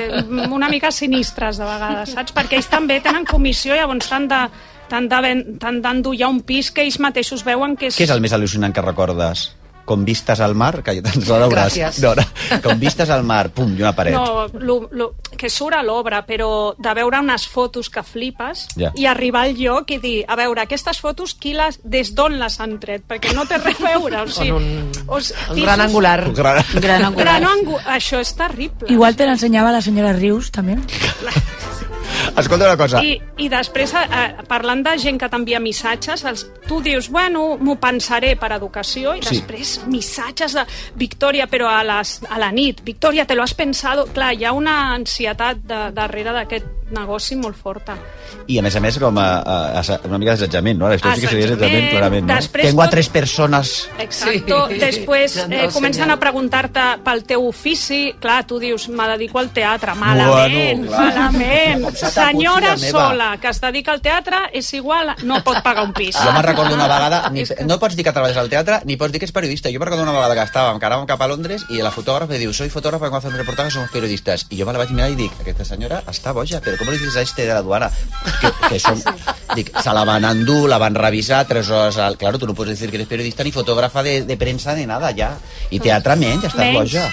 Speaker 5: una mica sinistres de vegades, saps? Perquè ells també tenen comissió, llavors t'han de t'han de ven- t'han d'endollar un pis que ells mateixos veuen que és...
Speaker 3: Què és el més al·lucinant que recordes? com vistes al mar, que ja ens la veuràs.
Speaker 5: Gràcies.
Speaker 3: No, no, com vistes al mar, pum, i una paret.
Speaker 5: No, lo, lo, que surt a l'obra, però de veure unes fotos que flipes
Speaker 3: Ja.
Speaker 5: i arribar al lloc i dir, a veure, aquestes fotos qui les, des d'on les han tret? Perquè no té res a veure. O sigui,
Speaker 14: un-
Speaker 5: o sigui,
Speaker 14: un gran angular. Un gran- gran angular.
Speaker 5: Gran angu això és terrible.
Speaker 15: Igual te l'ensenyava la senyora Rius, també.
Speaker 3: Escolta una cosa.
Speaker 5: I, I després, eh, parlant de gent que t'envia missatges, els, tu dius, bueno, m'ho pensaré per educació, i
Speaker 16: Sí.
Speaker 5: després missatges de Victòria, però a, les, a la nit, Victòria, te lo has pensado... Clar, hi ha una ansietat de, darrere d'aquest negoci molt forta.
Speaker 3: I a més a més com a, a, a una mica d'assetjament, no? Això sí que seria assetjament,
Speaker 5: Assetjament,
Speaker 3: clarament. No?
Speaker 5: després
Speaker 3: Tengo a
Speaker 5: tot-
Speaker 3: tres persones...
Speaker 5: Exacto.
Speaker 14: Sí.
Speaker 5: Sí. Després
Speaker 14: Ja no,
Speaker 5: eh, comencen
Speaker 14: senyor.
Speaker 5: a preguntar-te pel teu ofici. Clar, tu dius, me dedico al teatre. Malament,
Speaker 14: Bueno,
Speaker 5: bueno,
Speaker 14: clar.
Speaker 5: malament.
Speaker 14: Com s'ha taput,
Speaker 5: Senyora
Speaker 3: filla meva.
Speaker 5: sola, que es dedica al teatre, és igual, no pot pagar un pis.
Speaker 3: Jo me'n recordo una vegada, ni, no pots dir que treballes al teatre, ni pots dir que ets periodista. Jo me'n recordo una vegada que estàvem, que anàvem cap a Londres, i la fotògrafa diu, soy fotògrafa, quan fem un reportatge som periodistes. I jo me la vaig mirar i dic, aquesta senyora està boja, però com li dius a este de la duana? Que, que som... Dic, se la van endur, la van revisar, tres hores... Al... Claro, tu no pots dir que eres periodista ni fotògrafa de, de premsa ni nada, ja. I teatre menys, estàs
Speaker 17: Menys.
Speaker 3: boja.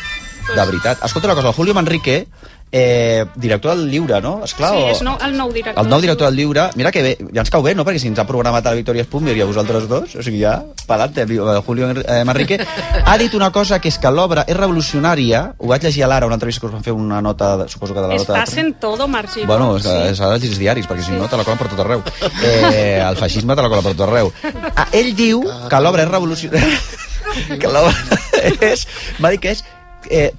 Speaker 3: De veritat. Escolta una cosa, el Julio Manrique, eh, director del Lliure, no? Esclar,
Speaker 5: Sí,
Speaker 3: o-
Speaker 5: és nou, el nou director.
Speaker 3: el nou director del Lliure, mira que bé, ja ens cau bé, no? Perquè si ens ha programat a la Victòria Spumer i a vosaltres dos, o sigui, ja, pelante, Julio eh, Manrique, ha dit una cosa que és que l'obra és revolucionària, ho vaig llegir a l'Ara, una entrevista que us van fer una nota, de- suposo que de la nota... de
Speaker 5: Estàs
Speaker 3: premsa.
Speaker 5: en todo, Margi.
Speaker 3: Bueno, s'ha s'ha de llegir els diaris, perquè si no te la colen per tot arreu. Eh, el feixisme te la cola per tot arreu. Ah, ell diu que l'obra és revolucionària... que l'obra és... M'ha dit que és eh,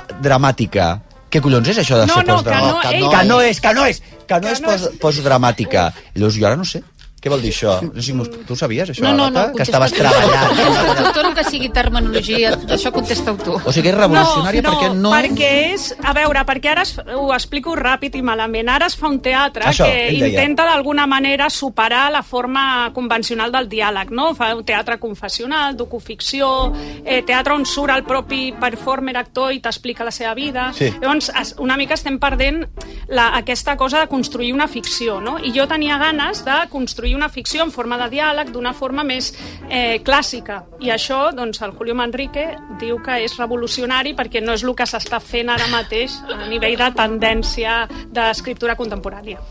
Speaker 3: postdramàtica. Què collons és això de
Speaker 17: No,
Speaker 3: ser
Speaker 17: no,
Speaker 3: postdramàtica?
Speaker 17: que no,
Speaker 3: que
Speaker 17: ell-
Speaker 3: no és, que no és, que no és post, postdramàtica. I llavors jo ara no sé. Què vol dir això? No sé si mos- tu ho sabies, això,
Speaker 9: No, no,
Speaker 3: Agata?
Speaker 9: no,
Speaker 3: que estaves
Speaker 9: contesta tu.
Speaker 3: treballant.
Speaker 9: Contesta tu, tot el que sigui terminologia, això contesta-ho tu.
Speaker 3: O sigui que és revolucionària
Speaker 5: no,
Speaker 3: perquè
Speaker 5: no...
Speaker 3: no...
Speaker 5: perquè és... A veure, perquè ara es, ho explico ràpid i malament. Ara es fa un teatre
Speaker 3: Això,
Speaker 5: que
Speaker 3: ell deia.
Speaker 5: intenta d'alguna manera superar la forma convencional del diàleg, no? Fa un teatre confessional, docuficció, eh, teatre on surt el propi performer, actor, i t'explica la seva vida.
Speaker 17: Sí.
Speaker 5: Llavors, es- una mica estem perdent la, aquesta cosa de construir una ficció, no? I jo tenia ganes de construir una ficció en forma de diàleg, d'una forma més eh, clàssica. I això, doncs, el Julio Manrique diu que és revolucionari perquè no és el que s'està fent ara mateix a nivell de tendència d'escriptura contemporània.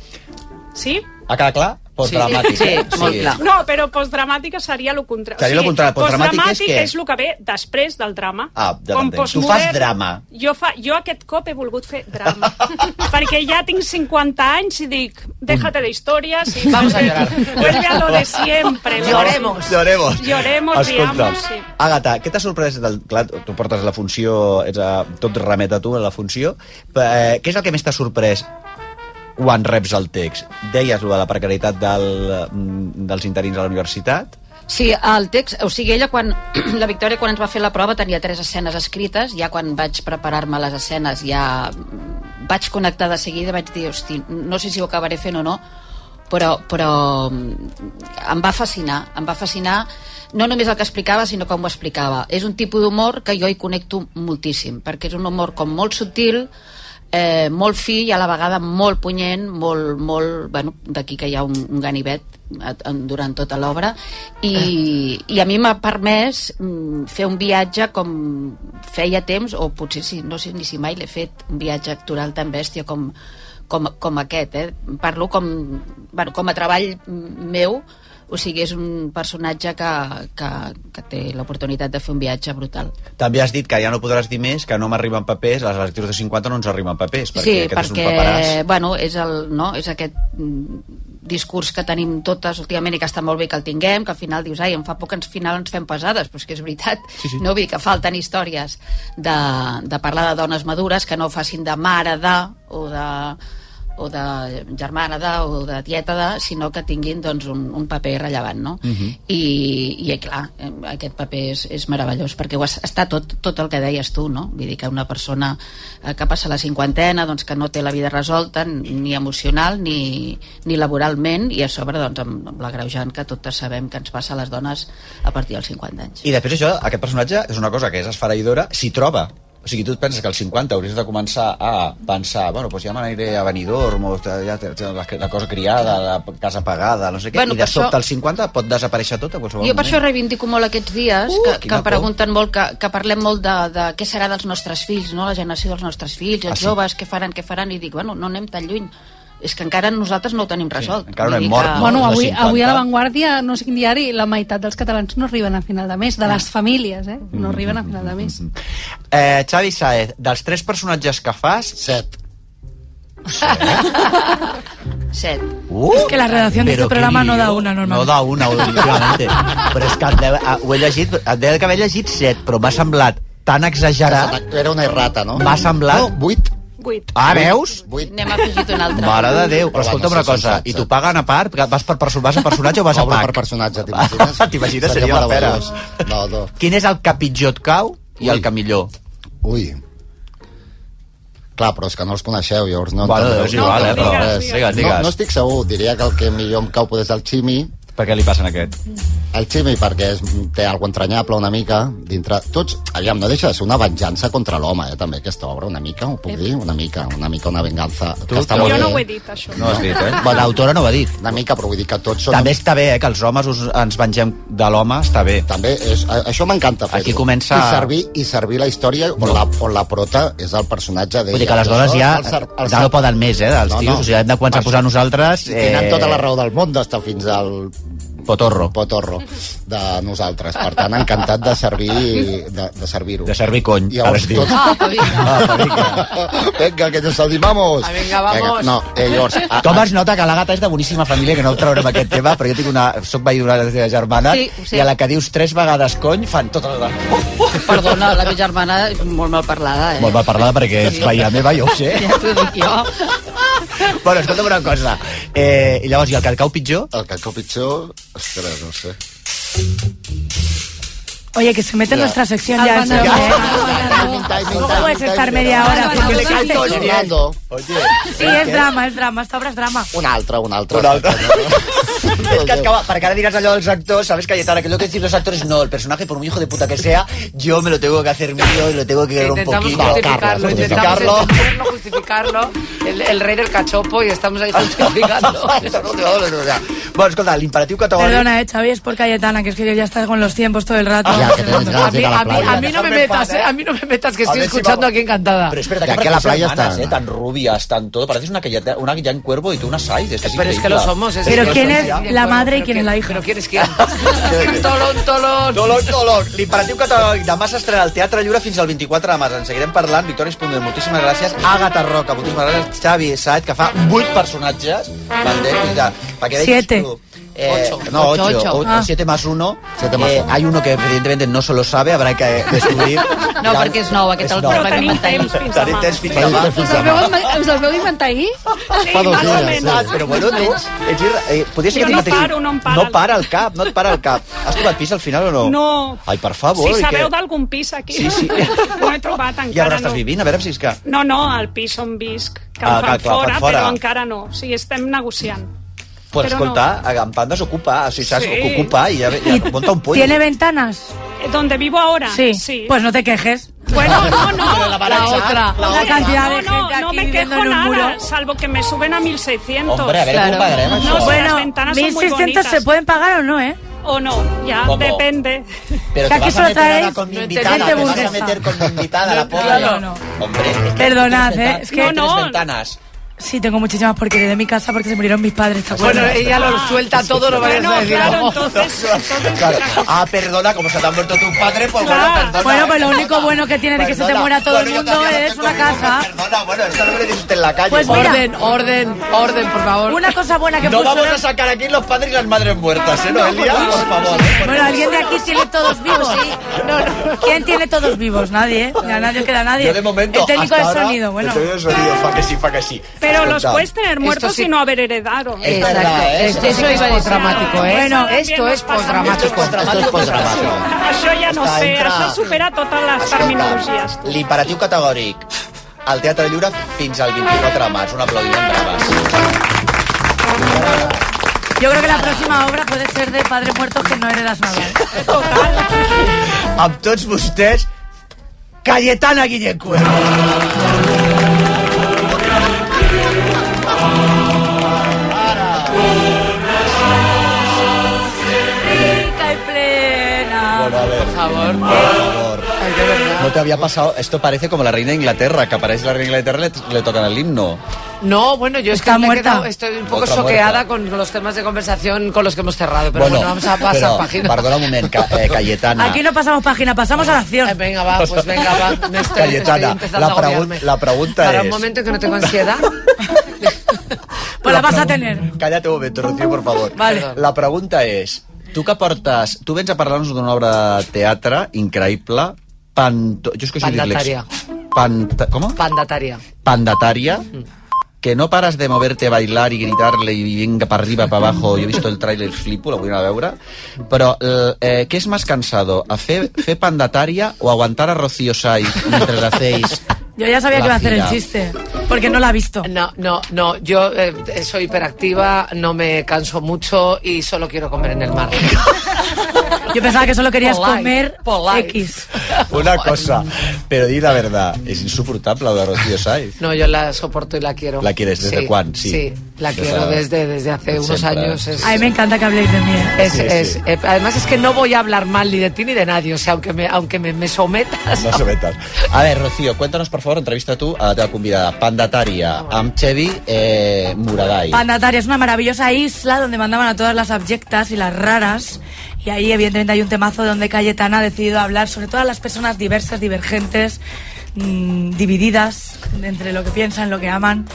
Speaker 5: Sí?
Speaker 3: Ha quedat clar? Postdramàtica.
Speaker 5: No, però postdramàtica seria el contrari.
Speaker 3: Seria lo contrari. Postdramàtic és
Speaker 5: postdramàtic
Speaker 3: què?
Speaker 5: és el que ve després del drama.
Speaker 3: Ah, ja
Speaker 5: Com
Speaker 3: t'entenc. Tu fas
Speaker 5: postmodern-
Speaker 3: drama.
Speaker 5: Jo, fa, jo aquest cop he volgut fer drama. perquè ja tinc 50 anys i dic, déjate de històries i
Speaker 3: Vamos a llorar.
Speaker 5: vuelve a lo de siempre.
Speaker 3: Lloremos. Lloremos.
Speaker 5: Lloremos, riamos, sí.
Speaker 3: Àgata, què t'ha sorprès? Del, clar, tu portes la funció, ets a, tot remet a tu, a la funció. Però, eh, què és el que més t'ha sorprès quan reps el text? Deies lo de la precarietat del, mm, dels interins a la universitat.
Speaker 9: Sí, el text, o sigui, ella quan, la Victòria quan ens va fer la prova tenia tres escenes escrites, ja quan vaig preparar-me les escenes ja mm, vaig connectar de seguida, vaig dir, hosti, no sé si ho acabaré fent o no, però, però mm, em va fascinar, em va fascinar no només el que explicava, sinó com ho explicava. És un tipus d'humor que jo hi connecto moltíssim, perquè és un humor com molt subtil, eh, molt fi i a la vegada molt punyent, molt, molt bueno, d'aquí que hi ha un, un ganivet eh, en- durant tota l'obra i, i a mi m'ha permès mm, fer un viatge com feia temps, o potser si, no sé ni si mai l'he fet, un viatge actoral tan bèstia com, com, com aquest eh? parlo com, bueno, com a treball mm, meu o sigui, és un personatge que, que, que té l'oportunitat de fer un viatge brutal.
Speaker 3: També has dit que ja no podràs dir més, que no m'arriben papers, a les lectures de 50 no ens arriben papers, perquè
Speaker 9: sí,
Speaker 3: aquest
Speaker 9: perquè,
Speaker 3: és un paperàs.
Speaker 9: bueno, és, el, no? és aquest mm, discurs que tenim totes últimament i que està molt bé que el tinguem, que al final dius, ai, em fa poc que al final ens fem pesades, però és que és veritat, sí, sí. no? Vull dir que falten històries de, de parlar de dones madures que no facin de mare de, o de o de germana de, o de tieta de, sinó que tinguin doncs, un, un paper rellevant, no? I, i clar, eh, aquest paper és, és meravellós perquè ho es- està tot, tot el que deies tu no? vull dir que una persona eh, que passa la cinquantena doncs, que no té la vida resolta ni emocional ni, ni laboralment i a sobre doncs, amb, amb l'agreujant que totes sabem que ens passa a les dones a partir dels 50 anys
Speaker 3: I després això, aquest personatge, és una cosa que és esfereïdora, s'hi troba. O sigui, tu et penses que als 50 hauries de començar a pensar, bueno, doncs ja me n'aniré a Benidorm, o ja té- té la, la cosa criada, la casa pagada, no sé què,
Speaker 9: Bueno,
Speaker 3: bueno, i de
Speaker 9: per això-
Speaker 3: sobte als 50 pot desaparèixer tot a qualsevol
Speaker 9: Jo per
Speaker 3: moment.
Speaker 9: això reivindico molt aquests dies,
Speaker 3: Uh,
Speaker 9: que, que
Speaker 3: quina
Speaker 9: em pregunten molt, que, que parlem molt de, de què serà dels nostres fills, no? la generació dels nostres fills, els
Speaker 3: Ah, sí?
Speaker 9: joves, què faran, què faran, i dic, bueno, no anem tan lluny. És que encara nosaltres no ho tenim resolt.
Speaker 3: encara no
Speaker 9: Vull
Speaker 3: hem
Speaker 9: dir
Speaker 3: mort, no?
Speaker 16: Bueno,
Speaker 3: Els de
Speaker 16: avui,
Speaker 3: 50.
Speaker 16: avui a La Vanguardia, no sé quin diari, la meitat dels catalans no arriben a final de mes, de les famílies, eh? No arriben a final de mes.
Speaker 3: Eh, Xavi Saez, dels tres personatges que fas... Set.
Speaker 9: Set.
Speaker 3: Uh,
Speaker 15: Es que la redacción de
Speaker 3: però
Speaker 15: este programa
Speaker 3: quin
Speaker 15: no da
Speaker 3: guió.
Speaker 15: una,
Speaker 3: No
Speaker 15: normalment.
Speaker 3: da una, últimamente. però és que et deu, ah, ho he llegit, et deu que haver llegit set, però m'ha semblat tan exagerat... Era una errata, no? M'ha semblat... No, vuit.
Speaker 9: Vuit.
Speaker 3: Ah, veus?
Speaker 9: Vuit. N'hem afegit un altre.
Speaker 3: Mare de Déu. Però escolta'm una cosa, i t'ho paguen a part? Vas per, perso- vas a personatge o vas a pack? per personatge, t'imagines? t'imagines? Seria, la pera.
Speaker 8: meravellós. No, no.
Speaker 3: Quin és el que pitjor et cau i el que millor?
Speaker 8: Ui. Clar, però és que no els coneixeu, llavors no... en
Speaker 3: Bueno,
Speaker 8: tindreu
Speaker 3: és igual,
Speaker 8: cap
Speaker 3: eh, però-
Speaker 8: res.
Speaker 3: digues, digues, digues.
Speaker 8: No, no estic segur, diria que el que millor em cau poder és el Ximi.
Speaker 3: Per què li passen aquest?
Speaker 8: El Ximi perquè és, té algo entranyable una mica dintre... Tots, aviam, no deixa de ser una venjança contra l'home, eh, també, aquesta obra, una mica, ho puc dir? Una mica, una mica una venganza. que està molt
Speaker 5: jo no
Speaker 8: bé.
Speaker 5: ho he dit, això.
Speaker 3: Bueno, l'autora no ho ha dit.
Speaker 8: Una mica, però vull dir que tots són...
Speaker 3: També està bé, eh, que els homes us, ens vengem de l'home, està bé.
Speaker 8: També, és, a- això m'encanta fer-ho.
Speaker 3: Aquí comença...
Speaker 8: I servir, i servir la història on, no. la, on la prota és el personatge d'ella.
Speaker 3: Vull dir que les
Speaker 8: Això
Speaker 3: dones
Speaker 8: és
Speaker 3: ja,
Speaker 8: el ser- el
Speaker 3: ja
Speaker 8: ser-
Speaker 3: no poden més, eh, dels
Speaker 8: No,
Speaker 3: tios.
Speaker 8: no.
Speaker 3: O sigui, hem de començar a posar nosaltres... eh,
Speaker 8: I tenen tota la raó del món d'estar fins al...
Speaker 3: Potorro.
Speaker 8: Potorro de nosaltres. Per tant, encantat de servir de, de servir-ho.
Speaker 3: De servir cony, ara es diu.
Speaker 8: Ah, Vinga, que nos animamos.
Speaker 14: Ah, vinga, vamos.
Speaker 8: no, eh, llavors... a-
Speaker 3: Com es nota que la gata és de boníssima família, que no el traurem aquest tema, però jo tinc una... Soc veí d'una de les teves germanes,
Speaker 9: Sí, ho sé.
Speaker 3: i a la que dius tres vegades cony, fan tota la... Oh,
Speaker 9: Perdona, la meva germana és molt mal parlada, eh?
Speaker 3: molt mal parlada perquè és veïna meva, jo ho sé.
Speaker 9: Ja t'ho dic jo.
Speaker 3: bueno, escolta'm una cosa. Eh, I llavors, i el que et cau pitjor?
Speaker 8: El que et cau pitjor... Ostres, no sé.
Speaker 15: Oye, que se mete en
Speaker 8: Ya.
Speaker 15: nuestra sección
Speaker 8: Al
Speaker 15: ya.
Speaker 8: Banaró.
Speaker 15: este hombre,
Speaker 8: Ya.
Speaker 15: ¿eh? ¿Cómo puedes estar media hora?
Speaker 8: Al Banaró.
Speaker 15: Porque
Speaker 8: Al
Speaker 15: le
Speaker 8: Banaró.
Speaker 15: canto.
Speaker 8: Oye,
Speaker 15: Sí, es drama, es drama, esta obra es drama.
Speaker 8: Una altra, una altra. Una altra.
Speaker 3: Es que acaba, para que ahora dirás allá de los actores, ¿sabes, Cayetana? Que lo que decís los actores, no, el personaje, por muy hijo de puta que sea, yo me lo tengo que hacer mío y lo tengo que querer un
Speaker 14: Intentamos
Speaker 3: poquito.
Speaker 14: justificarlo,
Speaker 3: Carlos,
Speaker 14: intentamos entenderlo, justificarlo. El, el rey del cachopo y estamos ahí justificando.
Speaker 3: Bueno, escolta, l'imperatiu categòric...
Speaker 15: Perdona, eh, Xavi, es por Cayetana, que es que yo ya está con los tiempos todo el rato.
Speaker 8: Ya, que tenéis ganas
Speaker 15: A
Speaker 8: de
Speaker 15: mí-
Speaker 8: ir a la
Speaker 15: a mí-
Speaker 8: playa.
Speaker 15: a mí no me metas, eh, a mí no me metas, que
Speaker 3: A
Speaker 15: estoy
Speaker 3: ver si
Speaker 15: escuchando
Speaker 3: vamos-
Speaker 15: aquí encantada.
Speaker 3: Pero es verdad
Speaker 8: De
Speaker 3: que
Speaker 8: aquí a la playa
Speaker 3: hermanas,
Speaker 8: están.
Speaker 3: eh, tan rubias, tan todo, pareces una que ya, una que ya en cuervo y tú una size. Es
Speaker 14: Pero es que lo somos. Es
Speaker 15: eh. Pero
Speaker 14: que
Speaker 15: ¿quién
Speaker 14: lo
Speaker 15: es
Speaker 14: somos.
Speaker 15: la madre y
Speaker 14: Pero
Speaker 15: quién es la hija?
Speaker 14: Pero ¿quién es quién? Tolón, tolón.
Speaker 3: Dolor, dolor. L'imperatiu categòric demà s'estrena al Teatre Lliure fins al 24 de març. En seguirem parlant. Victòria Espondel, moltíssimes gràcies. Àgata Roca, moltíssimes gràcies. Xavi Saet, que fa 8 personatges. Bandera, mira, perquè veig
Speaker 15: Siete.
Speaker 3: tu. Eh, no,
Speaker 15: Ocho,
Speaker 3: 8.
Speaker 15: ocho. Ah.
Speaker 3: 7 más 1.
Speaker 8: más
Speaker 3: hay uno que evidentemente no se lo sabe, habrá que descubrir.
Speaker 9: No, perquè és nou, aquest el
Speaker 3: nou.
Speaker 9: vam inventar ahir.
Speaker 3: Tenim temps fins demà.
Speaker 16: Us el veu, inven- us el veu inventar ahir?
Speaker 3: Fa dos
Speaker 16: Més o
Speaker 3: dies,
Speaker 16: menys.
Speaker 3: eh? Però bueno, tu, ets irra... eh, podria ser
Speaker 16: Jo
Speaker 3: que
Speaker 16: no
Speaker 3: tinguessis-
Speaker 16: paro, no em para
Speaker 3: no
Speaker 16: el-
Speaker 3: para el cap, no et para el cap. Has trobat pis al final o no?
Speaker 5: No.
Speaker 3: Ai, per favor.
Speaker 5: si
Speaker 3: i
Speaker 5: sabeu
Speaker 3: què?
Speaker 5: d'algun pis aquí,
Speaker 3: Sí, sí.
Speaker 5: no he trobat
Speaker 3: I ara
Speaker 5: encara.
Speaker 3: estàs
Speaker 5: no.
Speaker 3: vivint? A veure si és que...
Speaker 5: No, no, al pis on visc, que
Speaker 3: Ah,
Speaker 5: ah,
Speaker 3: clar,
Speaker 5: fan
Speaker 3: clar,
Speaker 5: fora,
Speaker 3: fan fora.
Speaker 5: però encara no. O sigui, estem negociant.
Speaker 3: Pues
Speaker 5: Però
Speaker 3: escolta, no. en plan desocupa, o sigui, saps
Speaker 5: Sí.
Speaker 3: que ocupa i ja, ja monta un pollo.
Speaker 15: ¿Tiene ventanas?
Speaker 5: Eh, ¿Donde vivo ahora?
Speaker 15: Sí.
Speaker 5: Sí.
Speaker 15: Pues no te quejes.
Speaker 5: Bueno, no, no.
Speaker 15: Pero la baraja, La otra. la otra. cantidad de gente
Speaker 5: no,
Speaker 15: aquí
Speaker 5: me
Speaker 15: viviendo
Speaker 5: quejo
Speaker 15: en un
Speaker 5: nada,
Speaker 15: muro.
Speaker 5: salvo que me suben a 1.600.
Speaker 3: Hombre, a ver cómo Claro. pagaremos
Speaker 5: No,
Speaker 3: eso.
Speaker 5: bueno,
Speaker 15: Bueno,
Speaker 5: las ventanas son muy
Speaker 15: 1.600
Speaker 5: bonitas.
Speaker 15: se pueden pagar o no, ¿eh?
Speaker 5: O no, ya,
Speaker 15: ¿Cómo?
Speaker 5: depende.
Speaker 3: Pero
Speaker 15: que
Speaker 3: te
Speaker 15: aquí
Speaker 3: vas a
Speaker 15: solo
Speaker 3: meter ahora
Speaker 15: traéis
Speaker 3: con mi
Speaker 15: gente
Speaker 3: invitada, te vas
Speaker 15: burguesa.
Speaker 3: a meter con mi invitada, la pobre.
Speaker 15: Claro, no.
Speaker 3: Hombre, es que
Speaker 15: Perdonad,
Speaker 3: tienes
Speaker 15: eh,
Speaker 3: venta-
Speaker 15: es que-
Speaker 3: tienes
Speaker 15: No, no.
Speaker 3: ventanas.
Speaker 15: Sí, tengo muchísimas porquerías de mi casa porque se murieron mis padres. ¿te acuerdas?
Speaker 14: Bueno, ella lo
Speaker 15: Ah,
Speaker 14: suelta todo, lo vayas a decir.
Speaker 3: "Oh". Claro. Ah, perdona, como se te han muerto tus padres, pues bueno, perdona.
Speaker 15: Ah, Bueno, pues lo único bueno que tiene de que se te
Speaker 3: Perdona.
Speaker 15: muera todo el
Speaker 3: Bueno, yo
Speaker 15: mundo
Speaker 3: también lo
Speaker 15: es una casa.
Speaker 3: Perdona, bueno, esto no me lo dice usted en la calle.
Speaker 15: Pues
Speaker 3: por
Speaker 15: mira.
Speaker 3: favor.
Speaker 14: Orden, orden, orden, por favor.
Speaker 15: Una cosa buena que
Speaker 3: no
Speaker 15: puso-
Speaker 3: vamos a sacar aquí los padres y las madres muertas, ¿eh, Noelia?
Speaker 15: por
Speaker 3: Por favor.
Speaker 15: Bueno, alguien de aquí tiene todos vivos. ¿Quién tiene todos vivos? Nadie, ¿eh? Ya nadie queda nadie.
Speaker 3: Yo de momento,
Speaker 15: el técnico de
Speaker 3: hasta ahora,
Speaker 15: sonido, bueno.
Speaker 3: El técnico de sonido, fa que sí, fa que sí.
Speaker 5: Pero los
Speaker 3: Escolta.
Speaker 5: puedes tener muertos
Speaker 3: sí-
Speaker 5: y no haber heredado.
Speaker 3: Es Exacto. verdad, ¿eh? Esto sí que es
Speaker 14: postdramático, ¿eh?
Speaker 5: Bueno,
Speaker 14: Esto es
Speaker 5: postdramático.
Speaker 3: Esto és postdramático.
Speaker 5: Això ja no
Speaker 3: Està
Speaker 5: sé,
Speaker 3: entre-
Speaker 5: això supera totes les terminologies.
Speaker 3: L'imperatiu categòric al Teatre Lliure fins al 24 de març. Un aplaudiment, braves.
Speaker 15: Yo creo que la próxima obra puede ser de Padre Muerto que no heredas nada.
Speaker 3: Amb tots vostès,
Speaker 17: Cayetana Guillencue.
Speaker 12: Rica y plena.
Speaker 3: Por
Speaker 14: favor.
Speaker 3: No te había pasado. Esto parece como la reina de Inglaterra, que aparece la reina de Inglaterra y le, le tocan el himno.
Speaker 14: No, bueno, yo es que
Speaker 15: Está
Speaker 14: me he
Speaker 15: muerta.
Speaker 14: quedado- estoy un poco
Speaker 3: Otra
Speaker 14: choqueada con los temas de conversación con los que hemos cerrado, pero bueno, vamos a pasar
Speaker 3: pero,
Speaker 14: página.
Speaker 3: Perdona un moment, Ca- eh, Cayetana.
Speaker 15: Aquí no pasamos página, pasamos a la acción.
Speaker 14: venga, va, pues venga, va. Me estoy,
Speaker 3: Cayetana,
Speaker 14: estoy empezando
Speaker 3: la,
Speaker 14: a
Speaker 3: pregun-
Speaker 14: agobiarme.
Speaker 3: la pregunta
Speaker 14: Para
Speaker 3: es...
Speaker 14: un momento en que no tengo ansiedad.
Speaker 15: Pues la vas a tener.
Speaker 3: Cállate un momento, Rocío, por favor.
Speaker 15: Vale.
Speaker 3: La pregunta és, tu que portes... Tu vens a parlar-nos d'una obra de teatre increïble, panto... Jo és que soy
Speaker 14: Pandatària.
Speaker 3: dislèxic. Panta... Com?
Speaker 14: Pandataria.
Speaker 3: Pandataria, que no paras de moverte, bailar y gritarle y venga para arriba, para abajo. Yo he visto el tráiler, flipo, la voy a anar a veure. Però eh, eh, què és més cansado, a fer, fer pandataria o aguantar a Rocío Saiz mentre la feis?
Speaker 15: Yo ya sabía
Speaker 3: La
Speaker 15: que iba a hacer el
Speaker 3: gira.
Speaker 15: chiste, porque no la ha visto.
Speaker 14: No, no, no, yo eh, soy hiperactiva, no me canso mucho y solo quiero comer en el mar.
Speaker 15: Yo pensaba que solo querías
Speaker 14: Polite,
Speaker 15: comer
Speaker 14: polite.
Speaker 15: X.
Speaker 3: Una cosa, però di la verdad, és insuportable lo de Rocío Saiz.
Speaker 14: No, yo la soporto y la quiero.
Speaker 3: ¿La quieres? ¿Desde
Speaker 14: sí,
Speaker 3: cuándo? Sí.
Speaker 14: Sí, la
Speaker 3: Desde-
Speaker 14: quiero desde, desde hace
Speaker 3: Siempre.
Speaker 14: unos años. Es,
Speaker 15: A mí me encanta que habléis de mí. ¿eh?
Speaker 14: es-
Speaker 3: Sí,
Speaker 14: es-
Speaker 3: sí.
Speaker 14: eh, además es que no voy a hablar mal ni de ti ni de nadie, o sea, aunque me, aunque me, me sometas.
Speaker 3: No se metan. A ver, Rocío, cuéntanos, por favor, entrevista tu a la teva convidada, Pandataria, amb Xevi eh, Muradai.
Speaker 15: Pandataria es una maravillosa isla donde mandaban a todas las abjectas y las raras. Y ahí, evidentemente, hay un temazo donde Cayetana ha decidido hablar sobre todas las personas diversas, divergentes, mm, divididas entre lo que piensan, lo que aman.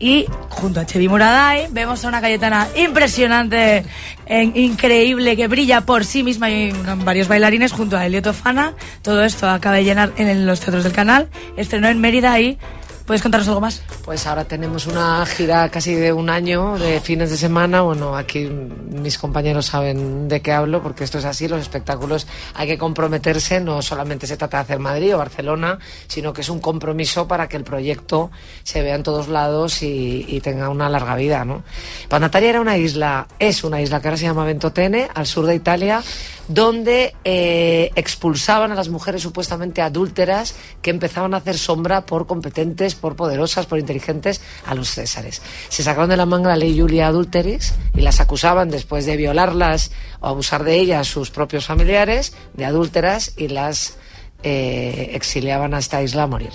Speaker 15: Y junto a Chevi Muraday vemos a una Cayetana impresionante, en- increíble, que brilla por sí misma. Y un- varios bailarines junto a Elio Tofana. Todo esto acaba de llenar en los teatros del canal. Estrenó en Mérida y... ¿Puedes contarnos algo más?
Speaker 14: Pues ahora tenemos una gira casi de un año de fines de semana. Bueno, aquí mis compañeros saben de qué hablo porque esto es así. Los espectáculos hay que comprometerse. No solamente se trata de hacer Madrid o Barcelona, sino que es un compromiso para que el proyecto se vea en todos lados y, y tenga una larga vida, ¿no? Pandataria era una isla, es una isla que ahora se llama Ventotene, al sur de Italia, donde eh, expulsaban a las mujeres supuestamente adúlteras que empezaban a hacer sombra por competentes, por poderosas, por inteligentes a los césares. Se sacaron de la manga la ley Julia Adulteris y las acusaban después de violarlas o abusar de ellas sus propios familiares de adúlteras y las eh, exiliaban a esta isla a morir.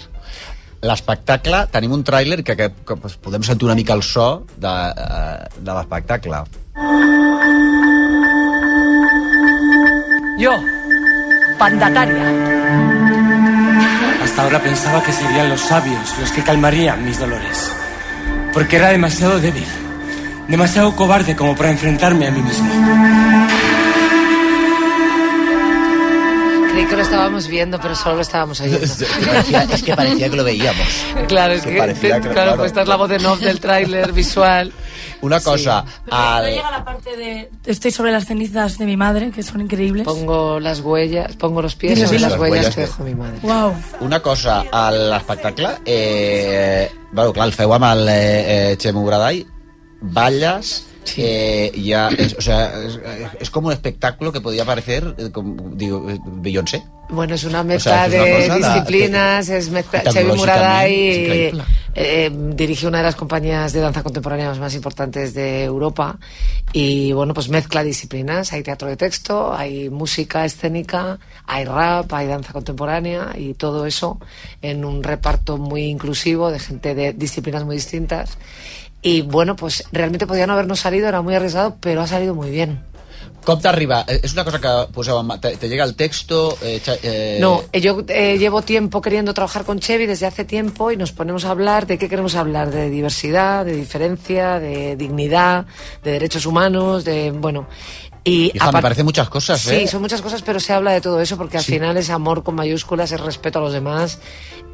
Speaker 3: L'espectacle, tenim un tràiler que, que, que pues, podem sentir una mica el so de, eh, de l'espectacle.
Speaker 14: Yo,
Speaker 12: Pandataria.
Speaker 18: Hasta ahora pensaba que serían los sabios los que calmarían mis dolores. Porque era demasiado débil, demasiado cobarde como para enfrentarme a mí mismo.
Speaker 14: Creí que lo estábamos viendo, pero solo lo estábamos oyendo.
Speaker 3: Es que parecía que lo veíamos.
Speaker 14: Claro, es
Speaker 3: Que
Speaker 14: que,
Speaker 3: parecía
Speaker 14: te-
Speaker 3: que-
Speaker 14: claro,
Speaker 3: claro.
Speaker 14: pues esta es la voz en off del tráiler visual.
Speaker 3: Una cosa, al,
Speaker 15: la parte de... Estoy sobre las cenizas de mi madre, que son increíbles.
Speaker 14: Pongo las huellas, pongo los pies
Speaker 3: Sí, sí,
Speaker 14: sobre
Speaker 3: sí,
Speaker 14: las
Speaker 3: las
Speaker 14: huellas
Speaker 3: huellas
Speaker 14: que
Speaker 3: que-
Speaker 14: dejó mi madre.
Speaker 15: Wow.
Speaker 3: una cosa, a l'espectacle, eh, bueno, clar, el feu amb el eh, eh, Xemu Gradai, balles, Sí. Eh, ya, es, o sea, es, es como un espectáculo que podía parecer, eh, como, digo, eh, Beyoncé.
Speaker 14: Bueno, es
Speaker 3: sea,
Speaker 14: una mezcla
Speaker 3: es una
Speaker 14: de
Speaker 3: cosa, la-
Speaker 14: disciplinas, es mezcla. Xavi
Speaker 3: tecnológicamente
Speaker 14: Muraday
Speaker 3: es
Speaker 14: eh,
Speaker 3: increíble.
Speaker 14: eh, dirige una de las compañías de danza contemporánea más importantes de Europa y bueno, pues mezcla disciplinas. Hay teatro de texto, hay música escénica, hay rap, hay danza contemporánea y todo eso en un reparto muy inclusivo de gente de disciplinas muy distintas. Y bueno, pues realmente podía no habernos salido, era muy arriesgado, pero ha salido muy bien.
Speaker 3: Com t'arriba? Eh, És una cosa que posava... en ma- Te, te llega el texto... Eh, xa- eh,
Speaker 14: No, eh, yo eh, llevo tiempo queriendo trabajar con Chevy desde hace tiempo y nos ponemos a hablar de qué queremos hablar, de diversidad, de diferencia, de dignidad, de derechos humanos, de bueno. Y
Speaker 3: Hija, me
Speaker 14: apar-
Speaker 3: parecen muchas cosas,
Speaker 14: Sí,
Speaker 3: ¿eh?
Speaker 14: son muchas cosas, pero se habla de todo eso porque al
Speaker 3: Sí.
Speaker 14: final es amor con mayúsculas, es respeto a los demás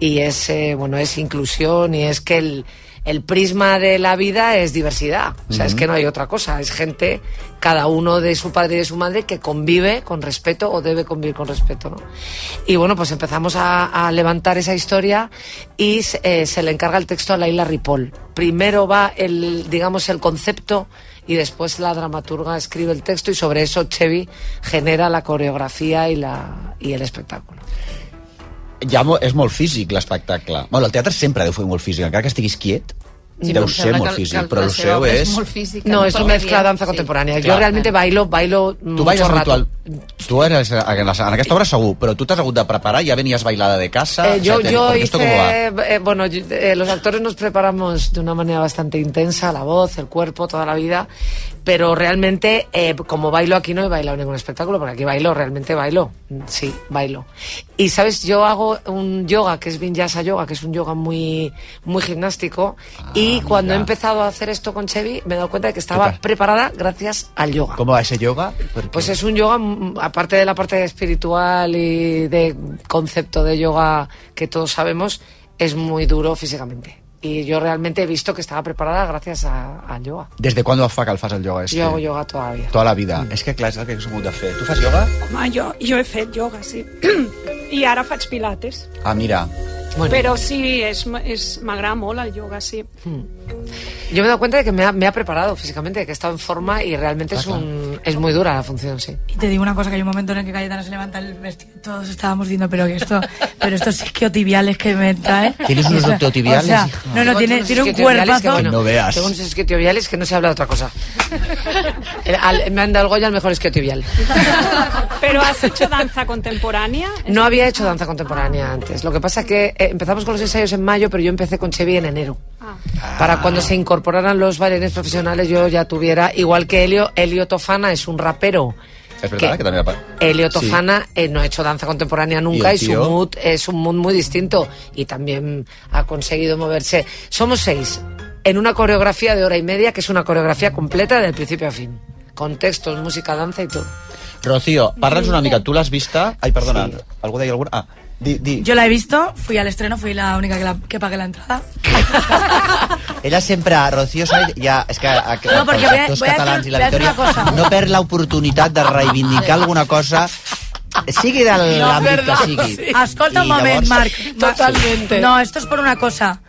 Speaker 14: y es eh, bueno, es inclusión y es que el el prisma de la vida es diversidad, o sea, es
Speaker 3: Ujú.
Speaker 14: que no hay otra cosa, es gente, cada uno de su padre y de su madre que convive con respeto o debe convivir con respeto, ¿no? Y bueno, pues empezamos a, a levantar esa historia y se- eh, se le encarga el texto a Laila Ripoll. Primero va el, digamos, el concepto y después la dramaturga escribe el texto y sobre eso Chevy genera la coreografía y, la, y el espectáculo.
Speaker 3: ja mo- és molt físic l'espectacle. Bueno, el teatre sempre deu fer molt físic, encara que estiguis quiet, sí, deu ser molt físic, però el seu és...
Speaker 11: física.
Speaker 14: No,
Speaker 11: no
Speaker 14: es
Speaker 11: pot
Speaker 14: una mezcla
Speaker 11: variar,
Speaker 14: de danza
Speaker 11: sí.
Speaker 14: contemporánea. Yo
Speaker 3: Claro.
Speaker 14: realmente bailo, bailo
Speaker 3: Tu
Speaker 14: mucho
Speaker 3: bailes
Speaker 14: rato.
Speaker 3: ritual... Tu eres eh, en, la, en aquesta obra segur, però tu t'has hagut de preparar, ja venies bailada de casa...
Speaker 14: Eh, yo,
Speaker 3: etcétera.
Speaker 14: yo
Speaker 3: Porque esto cómo va?
Speaker 14: hice, eh, bueno, yo- eh, los actores nos preparamos de una manera bastante intensa, la voz, el cuerpo, toda la vida, pero realmente eh, como bailo aquí no he bailado ningún espectáculo, porque aquí bailo, realmente bailo, Mm, sí, bailo. Y sabes, yo hago un yoga que es vinyasa yoga, que es un yoga muy, muy gimnástico, y cuando he
Speaker 3: Ah, mira.
Speaker 14: empezado a hacer esto con Chevy me he dado cuenta de que
Speaker 3: ¿Qué
Speaker 14: estaba
Speaker 3: tal?
Speaker 14: preparada gracias al yoga.
Speaker 3: ¿Cómo va ese yoga? Porque-
Speaker 14: Pues es un yoga, mm, aparte de la parte espiritual y de concepto de yoga que todos sabemos, es muy duro físicamente. Y yo realmente he visto que estaba preparada gracias a- al yoga.
Speaker 3: ¿Desde cuándo fa que el fas el yoga? Este?
Speaker 14: Yo hago yoga todavía.
Speaker 3: Tota la vida. Mm. És que clar, és el que has hagut de fer. Tu fas yoga?
Speaker 17: Home, jo, jo he fet ioga, sí. I ara faig pilates.
Speaker 3: Ah, mira.
Speaker 14: Bueno.
Speaker 5: Però sí, és, és m'agrada molt el ioga, sí.
Speaker 14: Yo me he dado cuenta de que me ha, me ha preparado físicamente, de que he estado en forma y realmente es,
Speaker 15: claro.
Speaker 14: un, es muy dura la función, sí.
Speaker 15: Y te digo una cosa, que hay un momento en el que Cayetano se levanta el vestido, todos estábamos diciendo, pero que esto, pero estos isquiotibiales que me trae.
Speaker 3: ¿Tienes unos
Speaker 15: O sea,
Speaker 3: isquiotibiales,
Speaker 15: o sea,
Speaker 3: hija?
Speaker 15: no, no,
Speaker 14: Tengo
Speaker 15: tiene,
Speaker 14: unos
Speaker 15: tiene un
Speaker 14: isquiotibiales que,
Speaker 15: cuerpazo.
Speaker 14: bueno,
Speaker 3: No veas.
Speaker 14: Tengo unos isquiotibiales que no se habla de otra cosa. El- al- me han dado el Goya el mejor isquiotibial.
Speaker 5: Però has hecho danza contemporánea?
Speaker 14: No había hecho danza contemporánea antes. Lo que pasa que eh, empezamos con los ensayos en mayo, pero yo empecé con Chevy en enero. Para cuando se incorporaran los bailarines profesionales, yo ya tuviera, igual que Helio, Helio Tofana es un rapero.
Speaker 3: És veritat,
Speaker 14: ¿Qué?
Speaker 3: que també... va-
Speaker 14: Helio
Speaker 3: Sí.
Speaker 14: Tofana eh, no ha hecho danza contemporánea
Speaker 3: ¿Y
Speaker 14: nunca
Speaker 3: el
Speaker 14: y, su
Speaker 3: tío?
Speaker 14: mood es un mood muy distinto y también ha conseguido moverse. Somos seis en una coreografía de hora y media, que es una coreografía completa del principio a fin. Con textos, música, danza y todo.
Speaker 3: Rocío, parla'ns una mica. Tu l'has vista... Ai, perdona, algú deia alguna... Ah, di, di.
Speaker 15: Yo la he visto, fui al estreno, fui la única que, la- que pagué la entrada.
Speaker 3: Ella sempre, Rocío, sabe, ja, és que a,
Speaker 15: No, perquè
Speaker 3: els
Speaker 15: voy a-
Speaker 3: actors
Speaker 15: voy a
Speaker 3: catalans
Speaker 15: hacer-
Speaker 3: i la
Speaker 15: voy a hacer
Speaker 3: Victòria
Speaker 15: una cosa.
Speaker 3: no perd l'oportunitat de reivindicar alguna cosa sigui de l'àmbit que sigui.
Speaker 15: Escolta un
Speaker 3: I llavors-
Speaker 15: moment, Marc. Totalmente. No, esto es por una cosa.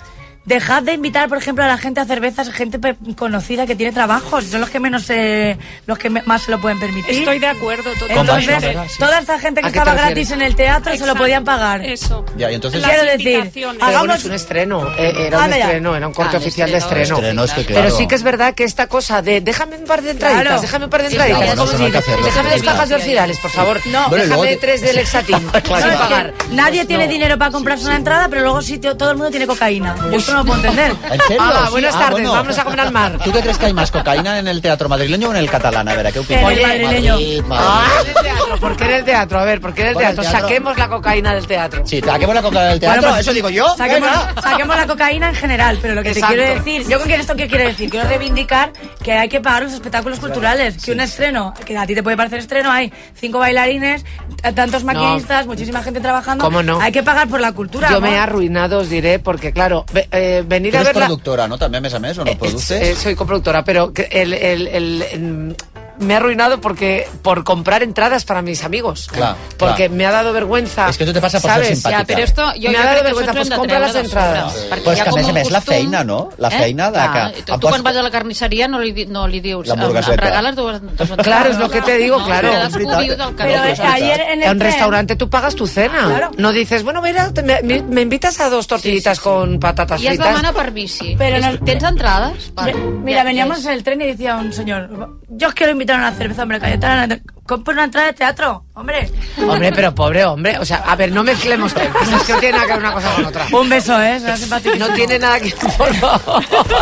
Speaker 15: Dejad de invitar, por ejemplo, a la gente a cervezas, gente pe- conocida que tiene trabajos. Son los que menos, eh, los que me- más se lo pueden permitir.
Speaker 5: Estoy de acuerdo totalmente.
Speaker 15: Entonces,
Speaker 5: Con Bárbara, sí.
Speaker 15: toda esta gente que
Speaker 5: ¿A qué te
Speaker 15: estaba
Speaker 5: refieres?
Speaker 15: gratis en el teatro se lo podían pagar.
Speaker 5: Eso.
Speaker 3: Ja, i entonces...
Speaker 15: Quiero decir,
Speaker 5: invitaciones.
Speaker 14: Pero bueno,
Speaker 15: hagamos
Speaker 14: es un estreno, eh, era un
Speaker 15: Anda ya.
Speaker 14: estreno, era un corte
Speaker 15: Claro,
Speaker 14: oficial
Speaker 15: estreno.
Speaker 14: de estreno.
Speaker 3: Ah, Estreno, es que claro.
Speaker 14: Pero sí que es verdad que esta cosa de déjame un par de entraditas,
Speaker 15: Claro.
Speaker 14: déjame un par de
Speaker 15: Sí,
Speaker 14: entraditas,
Speaker 15: claro,
Speaker 14: como
Speaker 15: eso
Speaker 14: si-
Speaker 15: no hay que hacerlo,
Speaker 14: déjame
Speaker 15: sí,
Speaker 14: dos cajas de
Speaker 15: claro.
Speaker 14: orcidares, por favor.
Speaker 15: No. Bueno, y luego
Speaker 14: déjame
Speaker 15: te-
Speaker 14: tres de Lexatin, sin
Speaker 15: No, es que
Speaker 14: pagar.
Speaker 3: Pues
Speaker 15: nadie tiene
Speaker 14: no.
Speaker 15: dinero para comprarse una entrada, pero luego sí, tío, todo el mundo tiene cocaína. Yo esto no lo puedo entender.
Speaker 3: ¿En serio?
Speaker 14: Hola,
Speaker 3: Sí,
Speaker 14: buenas
Speaker 3: ah,
Speaker 14: tardes,
Speaker 3: bueno.
Speaker 14: vámonos a comer al mar.
Speaker 3: ¿Tú qué crees que hay más cocaína en el teatro madrileño o en el catalán? A ver, ¿a qué opinas?
Speaker 14: En el madrileño.
Speaker 3: Madrid,
Speaker 14: Ah,
Speaker 3: Madrid.
Speaker 14: en el teatro, ¿Por qué en el teatro? A ver, ¿por qué en el
Speaker 3: Por el
Speaker 14: teatro?
Speaker 3: teatro.
Speaker 14: Saquemos la cocaína del teatro.
Speaker 3: Sí, saquemos la cocaína del teatro,
Speaker 15: Bueno, pues,
Speaker 3: eso digo yo.
Speaker 15: Saquemos,
Speaker 3: Venga.
Speaker 15: saquemos la cocaína en general, pero lo que
Speaker 14: Exacto.
Speaker 15: te quiero decir, yo con esto qué quiero decir, quiero reivindicar que hay que pagar los espectáculos culturales, que un estreno, que a ti te puede parecer estreno, hay cinco bailarines, t- tantos maquinistas, muchísima gente trabajando,
Speaker 14: ¿Cómo no?
Speaker 15: hay que pagar por la cultura.
Speaker 14: Yo
Speaker 15: ¿no?
Speaker 14: me he arruinado, os diré, porque claro, ve- eh, venir
Speaker 3: Tú
Speaker 14: a
Speaker 3: eres
Speaker 14: verla...
Speaker 3: productora, ¿no? También mes a mes, ¿o no
Speaker 14: Eh,
Speaker 3: produces?
Speaker 14: soy coproductora, pero que el, el- el- el- me ha arruinado porque por comprar entradas para mis amigos.
Speaker 3: Claro,
Speaker 14: porque
Speaker 3: claro.
Speaker 14: me ha dado vergüenza.
Speaker 3: És que tu te passa per ser
Speaker 14: ¿sabes?
Speaker 3: simpàtica. Ja, però esto- jo-
Speaker 14: me ha
Speaker 9: jo crec
Speaker 14: dado
Speaker 9: que
Speaker 14: vergüenza,
Speaker 9: això ens
Speaker 14: pues
Speaker 9: ho hem de
Speaker 14: compra las
Speaker 9: treure de
Speaker 14: entradas.
Speaker 9: sobre,
Speaker 3: Però és Pues que a més a més la feina, no? La
Speaker 15: ¿Eh?
Speaker 3: feina de
Speaker 9: Clar,
Speaker 3: que...
Speaker 9: Eh? Ah, tu, tu quan vas a la carnisseria no li, di- no li dius em, em
Speaker 3: L'hamburgueseta.
Speaker 9: regales dues, dues
Speaker 14: Claro, es lo que te digo,
Speaker 9: No,
Speaker 14: claro.
Speaker 9: cadascú viu del que no.
Speaker 14: En un restaurante tú pagas tu cena.
Speaker 9: Claro.
Speaker 14: No dices, bueno, mira, te- me, me- me invitas a dos tortillitas con patatas
Speaker 9: I es
Speaker 14: fritas.
Speaker 9: demana per bici.
Speaker 15: Però
Speaker 9: Però
Speaker 15: no-
Speaker 9: Tens entrades?
Speaker 15: Ve- Mira, veníamos en el tren y decía un señor, yo os quiero invitar a una cerveza, hombre, Cayetana, compra una entrada de teatro, hombre.
Speaker 14: Hombre, pero pobre hombre. O sea, a ver, no mezclemos temas. Es que no tiene nada que ver una cosa con otra.
Speaker 15: Un beso, ¿eh? Será simpaticísimo.
Speaker 14: No tiene nada que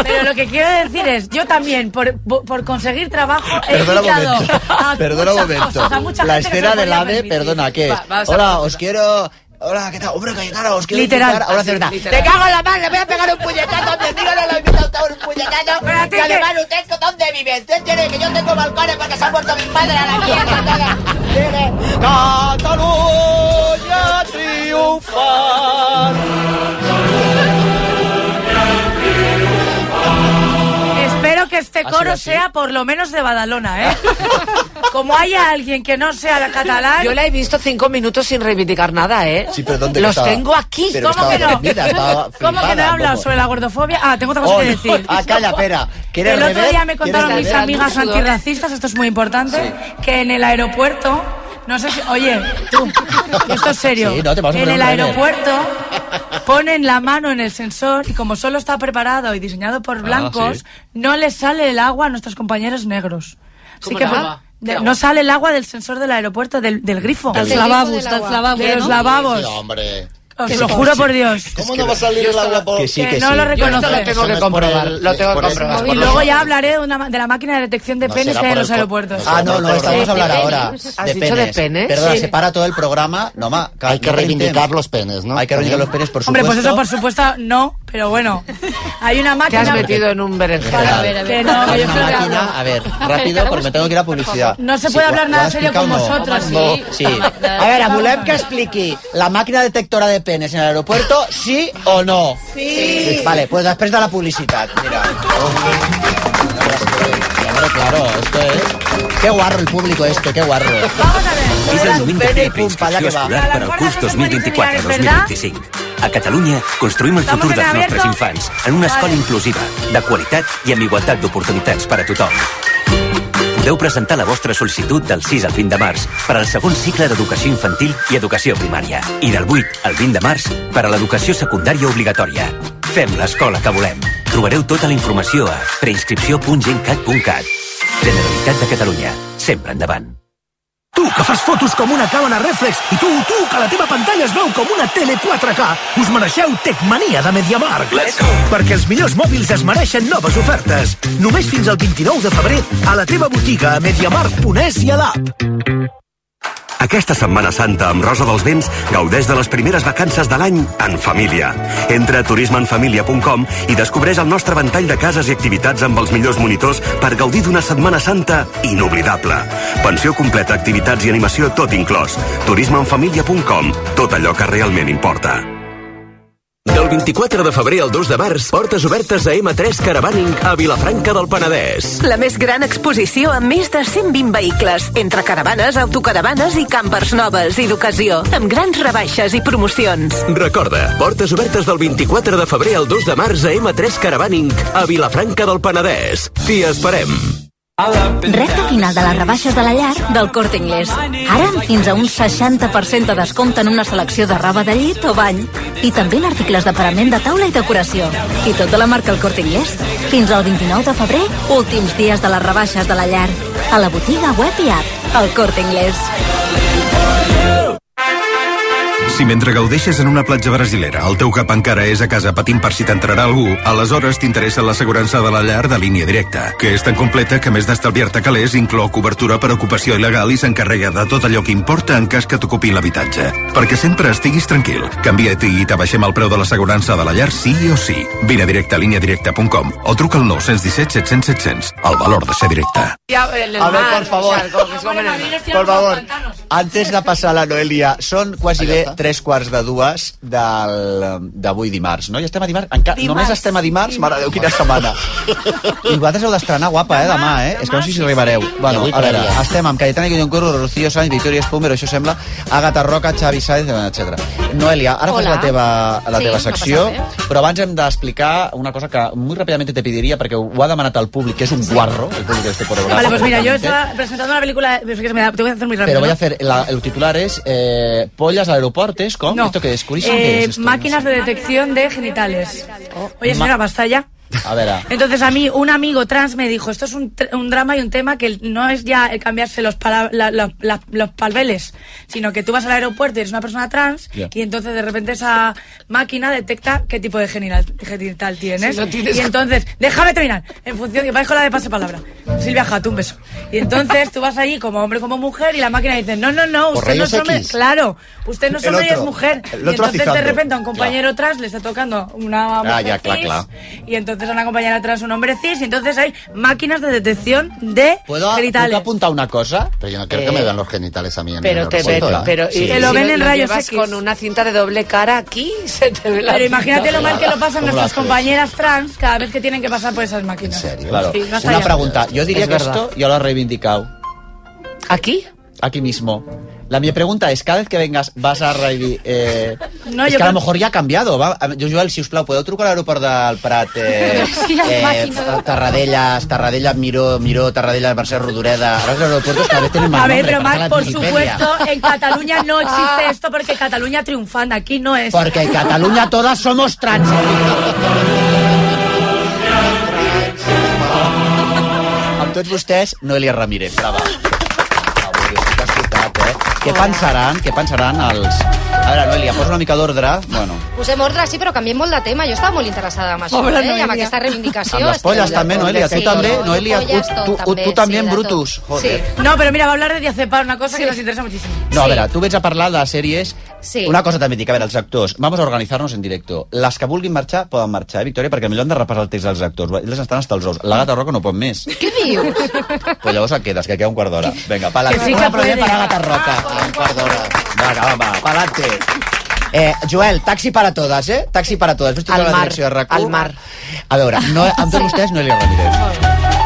Speaker 15: Pero lo que quiero decir es, yo también, por, por conseguir trabajo, he
Speaker 3: Perdona un
Speaker 15: invitado
Speaker 3: momento.
Speaker 15: a
Speaker 3: Perdona un
Speaker 15: muchas
Speaker 3: momento.
Speaker 15: cosas, a mucha
Speaker 3: La
Speaker 15: gente que
Speaker 3: escena
Speaker 15: se lo
Speaker 3: del
Speaker 15: podía
Speaker 3: AVE,
Speaker 15: permitir.
Speaker 3: perdona, ¿qué?
Speaker 15: Va- vamos a
Speaker 3: Hola, os quiero... Hola, ¿qué tal? Hombre, Cayetana, os quiero
Speaker 15: Literal.
Speaker 3: invitar a una
Speaker 15: Así,
Speaker 3: cerveza.
Speaker 15: literal.
Speaker 3: ¡Te cago en la
Speaker 19: madre! ¡Le voy a pegar un puñetazo a mi amigo! ¡No lo he invitado a un puñetazo!
Speaker 15: Espérate
Speaker 19: Y
Speaker 15: que-
Speaker 19: además, ¿usted dónde vive? ¿Usted tiene que yo tengo balcones porque se ha muerto mi padre a la mierda? toda. Mire.
Speaker 3: Catalunya triomfant.
Speaker 15: Espero que este
Speaker 3: ¿Ha sido
Speaker 15: coro
Speaker 3: así?
Speaker 15: sea por lo menos de Badalona, ¿eh? Como haya alguien que no sea de catalán...
Speaker 14: Yo la he visto cinco minutos sin reivindicar nada, ¿eh?
Speaker 3: Sí, pero ¿dónde
Speaker 14: Los
Speaker 3: estaba?
Speaker 14: tengo aquí.
Speaker 3: Pero
Speaker 15: ¿Cómo que
Speaker 3: estaba
Speaker 15: no?
Speaker 3: dormida, estaba
Speaker 15: ¿Cómo que no he
Speaker 3: flipada,
Speaker 15: hablado
Speaker 3: como-
Speaker 15: sobre la gordofobia? Ah, tengo otra cosa
Speaker 3: Oh,
Speaker 15: que
Speaker 3: no.
Speaker 15: decir.
Speaker 3: Ah, calla, espera. ¿Quieres
Speaker 15: El otro
Speaker 3: beber?
Speaker 15: día me
Speaker 3: ¿Quieres
Speaker 15: contaron mis
Speaker 3: beber?
Speaker 15: amigas
Speaker 3: Sudor.
Speaker 15: antirracistas, esto es muy importante, que en el aeropuerto No sé si. Oye, tú, esto es serio.
Speaker 3: Sí, no, te vamos a
Speaker 15: en
Speaker 3: poner
Speaker 15: el
Speaker 3: un timer.
Speaker 15: aeropuerto ponen la mano en el sensor y como solo está preparado y diseñado por blancos,
Speaker 20: sí.
Speaker 15: no les sale el agua a nuestros compañeros negros. Así
Speaker 20: ¿Cómo
Speaker 15: que
Speaker 20: el
Speaker 15: va-
Speaker 20: agua?
Speaker 15: de-
Speaker 20: ¿Qué agua?
Speaker 15: no sale el agua del sensor del aeropuerto, del, del grifo.
Speaker 20: Dels Del grifo lavabos, del dels agua. lavabos,
Speaker 15: De los
Speaker 20: ¿no?
Speaker 15: lavabos.
Speaker 8: Sí, hombre.
Speaker 15: Os lo juro por Dios.
Speaker 8: ¿Cómo no va a salir el agua por...?
Speaker 3: Que sí,
Speaker 15: que no sí. lo reconoce. Yo esto lo tengo
Speaker 8: Eso
Speaker 15: que
Speaker 8: no es por
Speaker 15: comprobar,
Speaker 8: el-
Speaker 15: lo
Speaker 8: es
Speaker 15: tengo que
Speaker 8: por el-
Speaker 15: comprobar.
Speaker 8: es por
Speaker 15: Y
Speaker 8: los-
Speaker 15: luego ya hablaré de, una ma- de la máquina de detección de
Speaker 8: No
Speaker 15: penes
Speaker 8: será
Speaker 15: que hay en
Speaker 8: por
Speaker 15: los
Speaker 8: el co-
Speaker 15: aeropuertos.
Speaker 3: Ah, no, no, esta vamos a hablar
Speaker 15: De penes.
Speaker 3: ahora.
Speaker 15: ¿Has dicho de penes?
Speaker 3: Perdona,
Speaker 15: Sí.
Speaker 3: se para todo el programa. No, ma, que-
Speaker 8: Hay que
Speaker 3: no te
Speaker 8: reivindicar
Speaker 3: intem-
Speaker 8: los penes, ¿no?
Speaker 3: Hay que reivindicar los penes, por
Speaker 15: Hombre,
Speaker 3: supuesto.
Speaker 15: pues eso por supuesto no, pero bueno. Hay una
Speaker 14: Te
Speaker 15: máquina...
Speaker 14: has metido en un berenjena.
Speaker 3: A ver, a ver.
Speaker 15: Que no, que yo
Speaker 3: Una
Speaker 15: creo que
Speaker 3: máquina-
Speaker 15: hablo.
Speaker 3: a ver,
Speaker 15: Espera,
Speaker 3: rápido,
Speaker 15: que
Speaker 3: porque me tengo que ir a publicidad.
Speaker 15: No se puede
Speaker 3: Sí,
Speaker 15: hablar
Speaker 3: ¿lo-
Speaker 15: nada
Speaker 3: lo has
Speaker 15: serio con
Speaker 3: explicado o no?
Speaker 15: vosotros.
Speaker 3: No,
Speaker 15: sí.
Speaker 3: sí. A ver, volem que expliqui la màquina detectora de penes en l'aeropuerto, sí o no?
Speaker 19: Sí.
Speaker 3: Vale, pues després de la publicitat, mira. Hombre, claro, esto es... Qué guarro el público este, qué guarro.
Speaker 21: És el moment de fer
Speaker 3: pum,
Speaker 21: preinscripció
Speaker 3: pala que
Speaker 21: escolar
Speaker 3: va.
Speaker 21: per al curs 2024-2025. A Catalunya construïm el
Speaker 3: Estamos
Speaker 21: futur
Speaker 3: en
Speaker 21: dels
Speaker 3: abierto.
Speaker 21: nostres infants en una escola
Speaker 3: Vale.
Speaker 21: inclusiva, de qualitat i amb igualtat d'oportunitats per a tothom. Podeu presentar la vostra sol·licitud del 6 al 20 de març per al segon cicle d'educació infantil i educació primària i del 8 al 20 de març per a l'educació secundària obligatòria. Fem l'escola que volem. Trobareu tota la informació a preinscripció.gencat.cat. Generalitat de Catalunya. Sempre endavant.
Speaker 22: Tu, que fas fotos com una càmera reflex, i tu, tu, que la teva pantalla es veu com una tele 4K, us mereixeu Tecmania de Mediamarkt. Let's go! Perquè els millors mòbils es mereixen noves ofertes. Només fins al 29 de febrer a la teva botiga a mediamarkt.es i a l'app.
Speaker 10: Aquesta Setmana Santa amb Rosa dels Vents gaudeix de les primeres vacances de l'any en família. Entra a turismeenfamilia.com i descobreix el nostre ventall de cases i activitats amb els millors monitors per gaudir d'una Setmana Santa inoblidable. Pensió completa, activitats i animació tot inclòs. turismeenfamilia.com, tot allò que realment importa.
Speaker 23: Del 24 de febrer al 2 de març, portes obertes a M3 Caravaning a Vilafranca del Penedès.
Speaker 24: La més gran exposició amb més de 120 vehicles, entre caravanes, autocaravanes i campers noves i d'ocasió, amb grans rebaixes i promocions.
Speaker 23: Recorda, portes obertes del 24 de febrer al 2 de març a M3 Caravaning a Vilafranca del Penedès. T'hi esperem.
Speaker 25: Recta final de les rebaixes de la llar del Corte Inglés. Ara, fins a un 60% de descompte en una selecció de roba de llit o bany i també en articles de parament de taula i decoració. I tota la marca El Corte Inglés. Fins al 29 de febrer, últims dies de les rebaixes de la llar. A la botiga web i app. El Corte Inglés.
Speaker 26: Si mentre gaudeixes en una platja brasilera el teu cap encara és a casa patint per si t'entrarà algú, aleshores t'interessa l'assegurança de la llar de línia directa, que és tan completa que a més d'estalviar-te calés inclou cobertura per ocupació il·legal i s'encarrega de tot allò que importa en cas que t'ocupi l'habitatge. Perquè sempre estiguis tranquil. Canvia-t'hi i t'abaixem el preu de l'assegurança de la llar sí o sí. Vine a directe a líniadirecta.com o truca al 917 700 700. El valor de ser directe.
Speaker 14: Ya, el
Speaker 3: A ver,
Speaker 14: mar,
Speaker 3: por favor.
Speaker 14: o sea, como que se comen el mar.
Speaker 3: Por favor, antes de passar la Noelia, són quasi bé tres quarts de dues del- d'avui dimarts, no? Ja estem a dimarts? Encara,
Speaker 19: Dimarts.
Speaker 3: Només estem a dimarts? Mare de Déu, quina setmana. I vosaltres heu d'estrenar guapa, eh, demà, eh? És que no sé si arribareu. Bueno,
Speaker 19: avui
Speaker 3: a veure,
Speaker 19: prèvia.
Speaker 3: estem amb Cayetana Guilloncoro, Rocío Sáenz, Victoria Espumer, això sembla, Agatha Roca, Xavi Sáenz, etc. Noelia, ara fas
Speaker 19: Hola.
Speaker 3: la teva, la
Speaker 19: Sí,
Speaker 3: teva
Speaker 19: m'ha
Speaker 3: secció,
Speaker 19: passat,
Speaker 3: però abans hem d'explicar una cosa que muy rápidamente te pediria, perquè ho ha demanat el públic, que és un guarro, el públic este programa.
Speaker 15: Vale, pues mira, yo
Speaker 3: Eh?
Speaker 15: estaba presentando una película... Pero es que se me da- te voy a hacer muy
Speaker 3: Pero
Speaker 15: rápido.
Speaker 3: voy a
Speaker 15: ¿no?
Speaker 3: hacer, la- el titular es eh, Pollas al aeropuerto, ¿es con? ¿Esto que es? ¿Curisa?
Speaker 15: Eh,
Speaker 3: ¿Qué es esto?
Speaker 15: máquinas de detección de genitales. Oye, señora,
Speaker 3: Ma-
Speaker 15: basta ya.
Speaker 3: A ver, a-
Speaker 15: Entonces a mí un amigo trans me dijo, esto es un, tr- un drama y un tema que no es ya el cambiarse los, pala- la- la- la- los palbeles, sino que tú vas al aeropuerto y eres una persona trans
Speaker 20: Ya.
Speaker 15: y entonces de repente esa máquina detecta qué tipo de genital, genital tienes.
Speaker 20: Si no tienes-
Speaker 15: Y entonces, déjame terminar, en función, y vais con la de pase palabra. Silvia Jato, un beso. Y entonces tú vas allí como hombre, como mujer y la máquina dice, no, no, no,
Speaker 3: Por
Speaker 15: usted no
Speaker 3: rayos
Speaker 15: es hombre,
Speaker 3: X.
Speaker 15: claro, usted no es
Speaker 3: El
Speaker 15: hombre y es
Speaker 3: otro.
Speaker 15: mujer.
Speaker 3: El
Speaker 15: Y
Speaker 3: otro
Speaker 15: entonces de
Speaker 3: atizando.
Speaker 15: repente a un
Speaker 3: Ya.
Speaker 15: compañero trans le está tocando una mujer
Speaker 3: Ah, ya, claro,
Speaker 15: cis,
Speaker 3: claro.
Speaker 15: y entonces a una compañera trans un hombre cis, y entonces hay máquinas de detección de
Speaker 3: ¿Puedo, ¿Puedo
Speaker 15: genitales.
Speaker 3: apuntar una cosa?
Speaker 8: Pero yo no quiero que me vean los genitales a mí en
Speaker 14: Pero
Speaker 8: el
Speaker 14: te ven,
Speaker 8: aeropuerto, ¿eh?
Speaker 14: pero y,
Speaker 15: Te lo
Speaker 14: si
Speaker 15: ven en rayos
Speaker 14: llevas
Speaker 15: X.
Speaker 14: con una cinta de doble cara aquí, se te ve la
Speaker 15: Pero imagínate
Speaker 14: cinta.
Speaker 15: lo mal que lo pasan
Speaker 3: ¿Cómo lo
Speaker 15: nuestras
Speaker 3: haces?
Speaker 15: compañeras trans cada vez que tienen que pasar por esas máquinas. ¿En serio?
Speaker 3: Claro. Una pregunta. Yo diría que esto yo lo he reivindicado.
Speaker 15: ¿Aquí?
Speaker 3: Aquí mismo. La mi pregunta es, cada vez que vengas vas a Raivi... Eh,
Speaker 15: No,
Speaker 3: es
Speaker 15: jo
Speaker 3: que a lo
Speaker 15: crec-
Speaker 3: mejor ja ha canviado. Va? A- Jo, Joel, si us plau, podeu trucar a l'aeroport del Prat? Eh,
Speaker 15: Sí, al màquina.
Speaker 3: Tarradellas, Tarradellas, Miró, Miró, Tarradellas, Mercè Rodoreda... Ara els aeropuertos cada vez tenen mal
Speaker 15: A ver,
Speaker 3: nombre,
Speaker 15: pero
Speaker 3: parece
Speaker 15: Marc,
Speaker 3: la
Speaker 15: por
Speaker 3: Wikipedia.
Speaker 15: supuesto, en Cataluña no existe esto porque Cataluña triunfando aquí no es.
Speaker 3: Porque en Cataluña todas somos trans. Amb tots vostès, Noelia Ramírez. Brava. Avui estic escoltat, eh? Què pensaran? Què pensaran els... A veure, Noelia, posa una mica d'ordre. Bueno,
Speaker 1: Posem ordre, sí, però canviem molt de tema. Jo estava molt interessada amb això,
Speaker 3: Pobra
Speaker 1: eh? I amb
Speaker 3: Noelia.
Speaker 1: aquesta reivindicació.
Speaker 3: amb les
Speaker 1: estic-
Speaker 3: polles també, Noelia. Tu
Speaker 1: Sí,
Speaker 3: també,
Speaker 1: no,
Speaker 3: Noelia. Tu,
Speaker 1: polles, tot
Speaker 3: tu, tu, tu també,
Speaker 1: sí, de tot.
Speaker 3: Brutus. Joder.
Speaker 15: No, pero mira, va a hablar de Diazepam, una cosa que nos interesa muchísimo.
Speaker 3: No, a veure, tu vens a parlar de sèries...
Speaker 15: Sí.
Speaker 3: Una cosa també et dic, a veure, els actors, vamos a organitzar-nos en directo. Les que vulguin marxar, poden marxar, eh, Victòria? Perquè millor han de repassar el text dels actors. Ells estan hasta els ous. La gata roca no pot més.
Speaker 1: Què dius?
Speaker 3: Pues llavors et quedes, que queda un quart d'hora. Vinga, pa'lante.
Speaker 1: Que sí que
Speaker 3: Una aplaudiment
Speaker 1: puede. Ah,
Speaker 3: per Agatha Roca. un quart d'hora. Vinga, home, pa'lante. Eh, Joel, taxi para todas, eh? Taxi para todas. Ves tu
Speaker 14: Al
Speaker 3: la
Speaker 14: mar,
Speaker 3: direcció de RAC1?
Speaker 14: al mar.
Speaker 3: A veure, no, amb tots vostès no li Ramírez.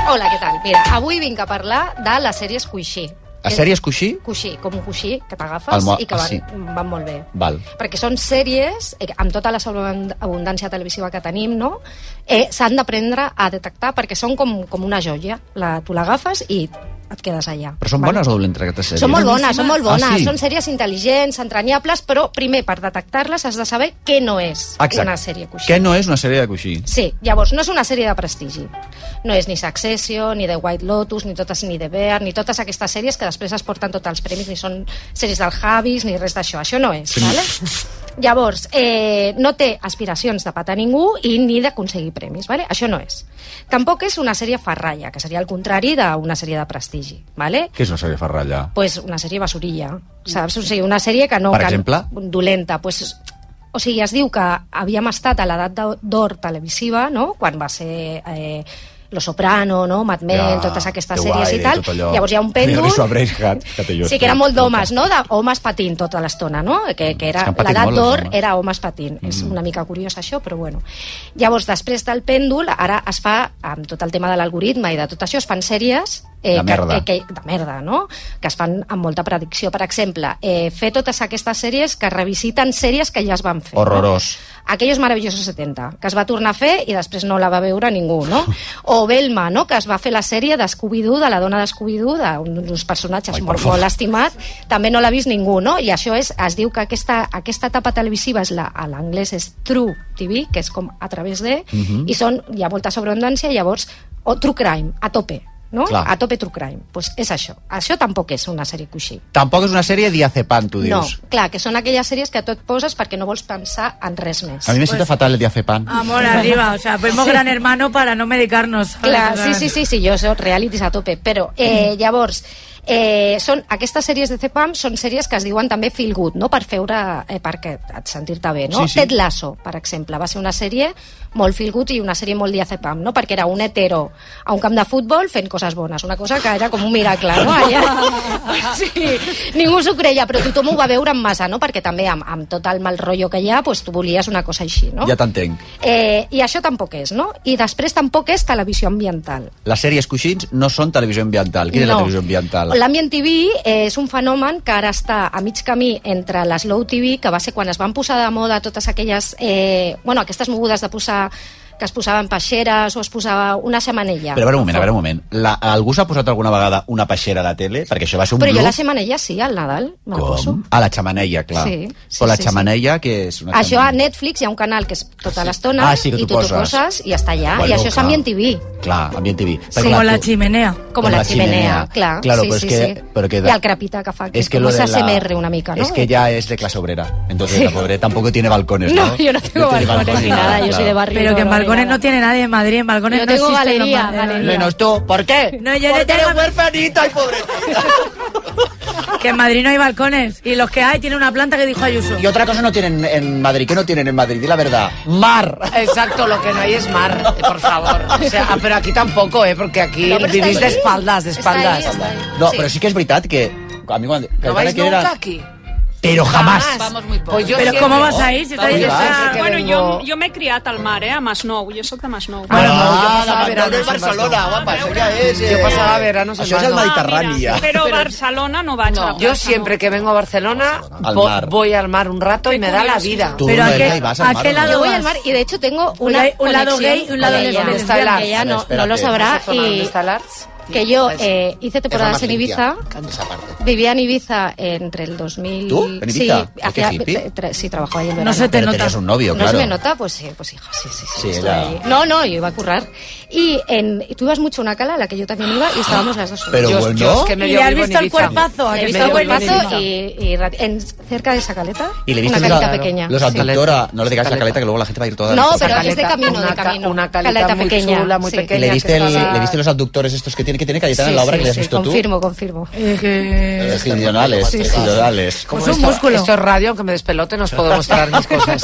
Speaker 1: Hola, què tal? Mira, avui vinc a parlar de les sèries coixí.
Speaker 3: A sèries coixí?
Speaker 1: Coixí, com un coixí que
Speaker 3: El
Speaker 1: t'agafes
Speaker 3: mo-
Speaker 1: i que
Speaker 3: ah,
Speaker 1: van,
Speaker 3: sí.
Speaker 1: van molt bé.
Speaker 3: Val.
Speaker 1: Perquè són sèries, eh, amb tota la abundància televisiva que tenim, no? eh, s'han d'aprendre a detectar perquè són com, com una joia. La, tu l'agafes i et quedes allà.
Speaker 3: Però són bones o dolentes aquestes sèries?
Speaker 1: Són molt bones, són molt bones.
Speaker 3: Ah, sí?
Speaker 1: Són sèries intel·ligents, entranyables, però primer, per detectar-les, has de saber què no és
Speaker 3: Exacte.
Speaker 1: una sèrie coixí.
Speaker 3: Què no és una sèrie de coixí?
Speaker 1: Sí, llavors, no és una sèrie de prestigi. No és ni Succession, ni The White Lotus, ni totes ni The Bear, ni totes aquestes sèries que després es porten tots els premis, ni són sèries del Javis, ni res d'això. Això no és,
Speaker 2: Sí.
Speaker 1: vale? Llavors, eh, no té aspiracions de patar ningú i ni d'aconseguir premis, vale? Això no és. Tampoc és una sèrie farralla, que seria el contrari d'una sèrie de prestigi, vale?
Speaker 3: Què és una sèrie farralla?
Speaker 1: pues una sèrie basurilla, saps? O sigui, una sèrie que
Speaker 3: Mm.
Speaker 1: no...
Speaker 3: Per
Speaker 1: que-
Speaker 3: exemple?
Speaker 1: Dolenta, pues... O sigui, es diu que havíem estat a l'edat d'o- d'or televisiva, no?, quan va ser... Eh, Lo Soprano, no? Mad Men,
Speaker 3: Ja,
Speaker 1: totes aquestes
Speaker 3: The
Speaker 1: sèries i
Speaker 3: Wire,
Speaker 1: tal.
Speaker 3: tot allò.
Speaker 1: Llavors hi ha un
Speaker 3: Mira,
Speaker 1: pèndol...
Speaker 3: deixo a Braveheart, que té just.
Speaker 1: Sí, que era molt d'homes, no? De homes patint tota l'estona, no? Que,
Speaker 3: És
Speaker 1: que era
Speaker 3: que han patit
Speaker 1: l'edat
Speaker 3: molt, els
Speaker 1: d'or
Speaker 3: homes.
Speaker 1: era homes patint. Mm. És una mica curiós això, però bueno. Llavors, després del pèndol, ara es fa, amb tot el tema de l'algoritme i de tot això, es fan sèries
Speaker 2: De merda.
Speaker 1: Que, eh, que, de merda, no? Que es fan amb molta predicció. Per exemple, eh, fer totes aquestes sèries que revisiten sèries que ja es van fer.
Speaker 3: Horrorós.
Speaker 1: Aquellos maravillosos 70, que es va tornar a fer i després no la va veure ningú, no? O Velma, no?, que es va fer la sèrie de Scooby-Doo, de la dona de Scooby-Doo, d'uns personatges Ai, molt, molt estimats, també no l'ha vist ningú, no? I això és, es diu que aquesta, aquesta etapa televisiva és la, a l'anglès és True TV, que és com a través de,
Speaker 2: Mhm.
Speaker 1: i són, hi ha molta sobreabundància, llavors, o True Crime, a tope, no?
Speaker 3: Clar.
Speaker 1: A tope True Crime. Pues és això. Això tampoc és una sèrie coixí.
Speaker 3: Tampoc és una sèrie diazepam, tu
Speaker 1: No,
Speaker 3: dius.
Speaker 1: clar, que són aquelles sèries que tu et poses perquè no vols pensar en res més.
Speaker 3: A mi me siento fatal el diazepam.
Speaker 1: Ah,
Speaker 15: Amor arriba, o sea, vemos
Speaker 1: Sí.
Speaker 15: gran hermano para no medicarnos. ¿sabes?
Speaker 1: Clar,
Speaker 15: O sea,
Speaker 1: sí, sí, sí, sí, jo soc realities a tope, però
Speaker 2: Mm.
Speaker 1: eh, llavors... Eh, són, aquestes sèries de CEPAM són sèries que es diuen també feel good, no? per feure, eh, perquè et sentir-te bé. No?
Speaker 2: Sí, sí.
Speaker 1: Ted Lasso, per exemple, va ser una sèrie molt feel good i una sèrie molt diazepam, no? perquè era un hetero a un camp de futbol fent coses bones, una cosa que era com un miracle. No? Allà, sí, ningú s'ho creia, però tothom ho va veure en massa, no? perquè també amb, amb tot el mal rotllo que hi ha, pues, tu volies una cosa així. No?
Speaker 3: Ja t'entenc.
Speaker 1: Eh, I això tampoc és, no? I després tampoc és televisió ambiental.
Speaker 3: Les sèries coixins no són televisió ambiental. Quina és
Speaker 1: No.
Speaker 3: la televisió ambiental?
Speaker 1: L'Ambient TV eh, és un fenomen que ara està a mig camí entre la Slow TV, que va ser quan es van posar de moda totes aquelles... Eh, bueno, aquestes mogudes de posar que es posaven peixeres o es posava una xamanella.
Speaker 3: Però a veure un moment, a veure un moment. La, algú s'ha posat alguna vegada una peixera a la tele? Perquè això va ser un
Speaker 1: Però jo la
Speaker 3: bluff.
Speaker 1: xamanella sí, al Nadal. me la poso.
Speaker 3: Com? A la xamanella, clar.
Speaker 1: Sí, sí,
Speaker 3: Però la
Speaker 1: sí, sí.
Speaker 3: xamanella, que és una
Speaker 1: Això a Netflix hi ha un canal que és tota l'estona
Speaker 3: Ah, sí, que
Speaker 1: i
Speaker 3: t'ho
Speaker 1: tu t'ho
Speaker 3: poses.
Speaker 1: poses i està allà.
Speaker 3: Bueno,
Speaker 1: I això és
Speaker 3: clar.
Speaker 1: Ambient TV.
Speaker 3: xamanella... Clar, ambient TV. Perquè,
Speaker 15: Como
Speaker 3: clar,
Speaker 15: la
Speaker 3: tu-
Speaker 15: chimenea.
Speaker 1: Com, la ximenea, clar.
Speaker 3: Claro,
Speaker 1: sí,
Speaker 3: però és
Speaker 1: sí,
Speaker 3: que-
Speaker 1: sí.
Speaker 3: però que
Speaker 1: I
Speaker 3: da-
Speaker 1: el crepita que fa, que
Speaker 3: es
Speaker 1: és,
Speaker 3: que
Speaker 1: com
Speaker 3: lo de la-
Speaker 1: esa CMR una mica, no?
Speaker 3: Es que ya es de clase obrera. Entonces
Speaker 1: Sí.
Speaker 3: la pobre tampoco tiene balcones, ¿no?
Speaker 1: No, yo no tengo
Speaker 3: tiene
Speaker 1: balcones ni nada, Ah, yo soy de barrio,
Speaker 15: Pero que en
Speaker 1: no, no,
Speaker 15: balcones no tiene nadie en Madrid, en balcones
Speaker 1: Yo
Speaker 15: no
Speaker 1: tengo
Speaker 15: existen los
Speaker 1: galería,
Speaker 15: balcones.
Speaker 1: galería. Menos
Speaker 3: tú, ¿por qué?
Speaker 15: No, yo
Speaker 3: Porque
Speaker 15: no tengo...
Speaker 3: eres huerfanita y pobre.
Speaker 15: que en Madrid no hay balcones. Y los que hay tienen una planta que dijo Ayuso.
Speaker 3: Y otra cosa no tienen en Madrid. ¿Qué no tienen en Madrid? Di la verdad. Mar.
Speaker 14: Exacto, lo que no hay es mar, por favor. O sea, ah, pero aquí tampoco, ¿eh? Porque aquí
Speaker 3: No, pero está
Speaker 14: vivís de
Speaker 3: ahí.
Speaker 14: espaldas, de espaldas.
Speaker 3: No, però sí que és veritat que... A mi quan... que
Speaker 14: No
Speaker 3: encara
Speaker 14: vais
Speaker 3: que era-
Speaker 14: nunca aquí.
Speaker 2: Pero jamás.
Speaker 9: Vamos muy poco.
Speaker 15: Pues yo Pero ¿cómo vas a ir si estás-
Speaker 2: Vamos.
Speaker 5: Ah,
Speaker 15: que
Speaker 5: bueno,
Speaker 15: vengo-
Speaker 5: jo, jo m'he criat al mar, eh, a Masnou. Jo sóc de Masnou.
Speaker 3: Ah, la Manolo és Barcelona, guapa, això ja és...
Speaker 14: Yo
Speaker 3: eh,
Speaker 14: pasaba verano Ah,
Speaker 3: Això és el Mediterrani, ja.
Speaker 5: Però Barcelona no vaig a la
Speaker 14: Yo
Speaker 5: plaça.
Speaker 14: siempre que vengo a Barcelona
Speaker 3: Al
Speaker 14: vo-
Speaker 3: mar.
Speaker 14: voy al mar un rato y me da la
Speaker 1: curioso.
Speaker 14: vida.
Speaker 3: Tú Pero no a qué- ahí vas al a mar, qué ¿no? lado
Speaker 1: Yo voy al
Speaker 14: vas? Pues
Speaker 1: mar y de hecho tengo una
Speaker 14: hay un lado
Speaker 1: conexión
Speaker 14: gay y un lado
Speaker 1: con ella,
Speaker 14: lesbiana.
Speaker 1: que
Speaker 14: Espera,
Speaker 1: ella no,
Speaker 14: espera,
Speaker 1: no lo
Speaker 14: espera.
Speaker 1: sabrá
Speaker 14: ¿Esa zona dónde
Speaker 1: y
Speaker 14: está el
Speaker 1: que yo
Speaker 14: Pues
Speaker 1: eh, hice temporadas en Ibiza
Speaker 8: Esa parte.
Speaker 1: Vivía en Ibiza entre el 2000...
Speaker 3: ¿Tú? ¿En Ibiza?
Speaker 1: Sí,
Speaker 3: ¿Pero
Speaker 1: hacía-
Speaker 3: qué hippie?
Speaker 1: tre- tre- sí, trabajaba allí en
Speaker 3: No
Speaker 1: verano.
Speaker 3: se te Pero nota. tenías un novio,
Speaker 1: ¿No
Speaker 3: claro.
Speaker 1: se me nota? Pues sí, pues hija, sí, sí. sí,
Speaker 3: Sí,
Speaker 1: estuve
Speaker 3: era-
Speaker 1: ahí. No, no, yo iba a currar. Y en, y tú ibas mucho a una cala a la que yo también iba y estábamos las dos. solas.
Speaker 3: Ah. Pero Yo- bueno. yo es que medio
Speaker 1: ¿Y le has
Speaker 3: vivo en
Speaker 1: visto el
Speaker 3: Ibiza.
Speaker 1: cuerpazo? ¿A
Speaker 3: Medio
Speaker 1: que visto el
Speaker 3: vivo en
Speaker 1: cuerpazo?
Speaker 3: Ibiza.
Speaker 1: Y, y ra- en, cerca de esa caleta.
Speaker 3: Y le
Speaker 1: una
Speaker 3: viste
Speaker 1: caleta
Speaker 3: la,
Speaker 1: pequeña.
Speaker 3: los
Speaker 1: sí.
Speaker 3: abductora, no le digas la caleta que luego la gente va a ir toda
Speaker 1: No,
Speaker 3: toda
Speaker 1: pero
Speaker 3: caleta.
Speaker 1: es de camino, de
Speaker 14: una ca-
Speaker 1: camino.
Speaker 14: una caleta muy chula, muy
Speaker 1: sí.
Speaker 14: pequeña.
Speaker 3: Y le viste,
Speaker 14: que
Speaker 3: el-
Speaker 14: estaba-
Speaker 3: le viste los abductores estos que tiene que tiene Cayetana en la obra que le has visto
Speaker 1: confirmo, confirmo.
Speaker 3: tú. Eh, Ginionales,
Speaker 14: Sí, sí.
Speaker 3: ginionales.
Speaker 14: Como
Speaker 1: Pues
Speaker 14: esto,
Speaker 3: Pues
Speaker 14: esto es radio, aunque me despelote, no os puedo mostrar mis cosas.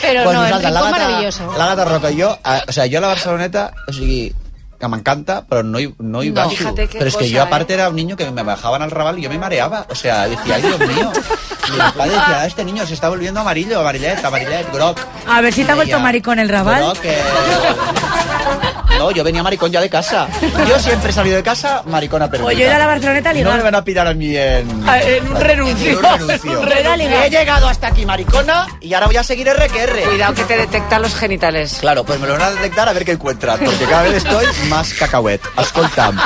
Speaker 1: Però
Speaker 3: Pues
Speaker 1: no, el
Speaker 3: nosaltres,
Speaker 1: rincó
Speaker 3: l'Àgata-
Speaker 1: maravilloso.
Speaker 3: L'Àgata Roca, jo, eh, o sea, jo a la Barceloneta, o sigui, que m'encanta, però no hi, no hi
Speaker 14: No.
Speaker 3: baixo.
Speaker 14: Fíjate qué
Speaker 3: Pero es que
Speaker 14: cosa, ¿eh?
Speaker 3: yo aparte era un niño que me bajaban al rabal y yo me mareaba. O sea, decía, ay Dios mío. Y mi papá decía, este niño se está volviendo amarillo, amarillet, amarillet, groc.
Speaker 15: A ver si te ha vuelto
Speaker 3: Ella.
Speaker 15: maricón el rabal.
Speaker 3: No, que- No, yo venía maricón ya de casa. Yo siempre he salido de casa maricona perdida.
Speaker 15: O Pues yo era la Barceloneta
Speaker 3: No
Speaker 15: ligada.
Speaker 3: me van a pirar a mí en...
Speaker 15: Ah, en un renuncio.
Speaker 3: En un renuncio.
Speaker 15: Un renuncio.
Speaker 3: He llegado hasta aquí maricona y ahora voy a seguir R que R.
Speaker 14: Cuidado que te detectan los genitales.
Speaker 3: Claro, pues me lo van a detectar a ver qué encuentran, porque cada vez estoy más cacahuet. Escolta'm,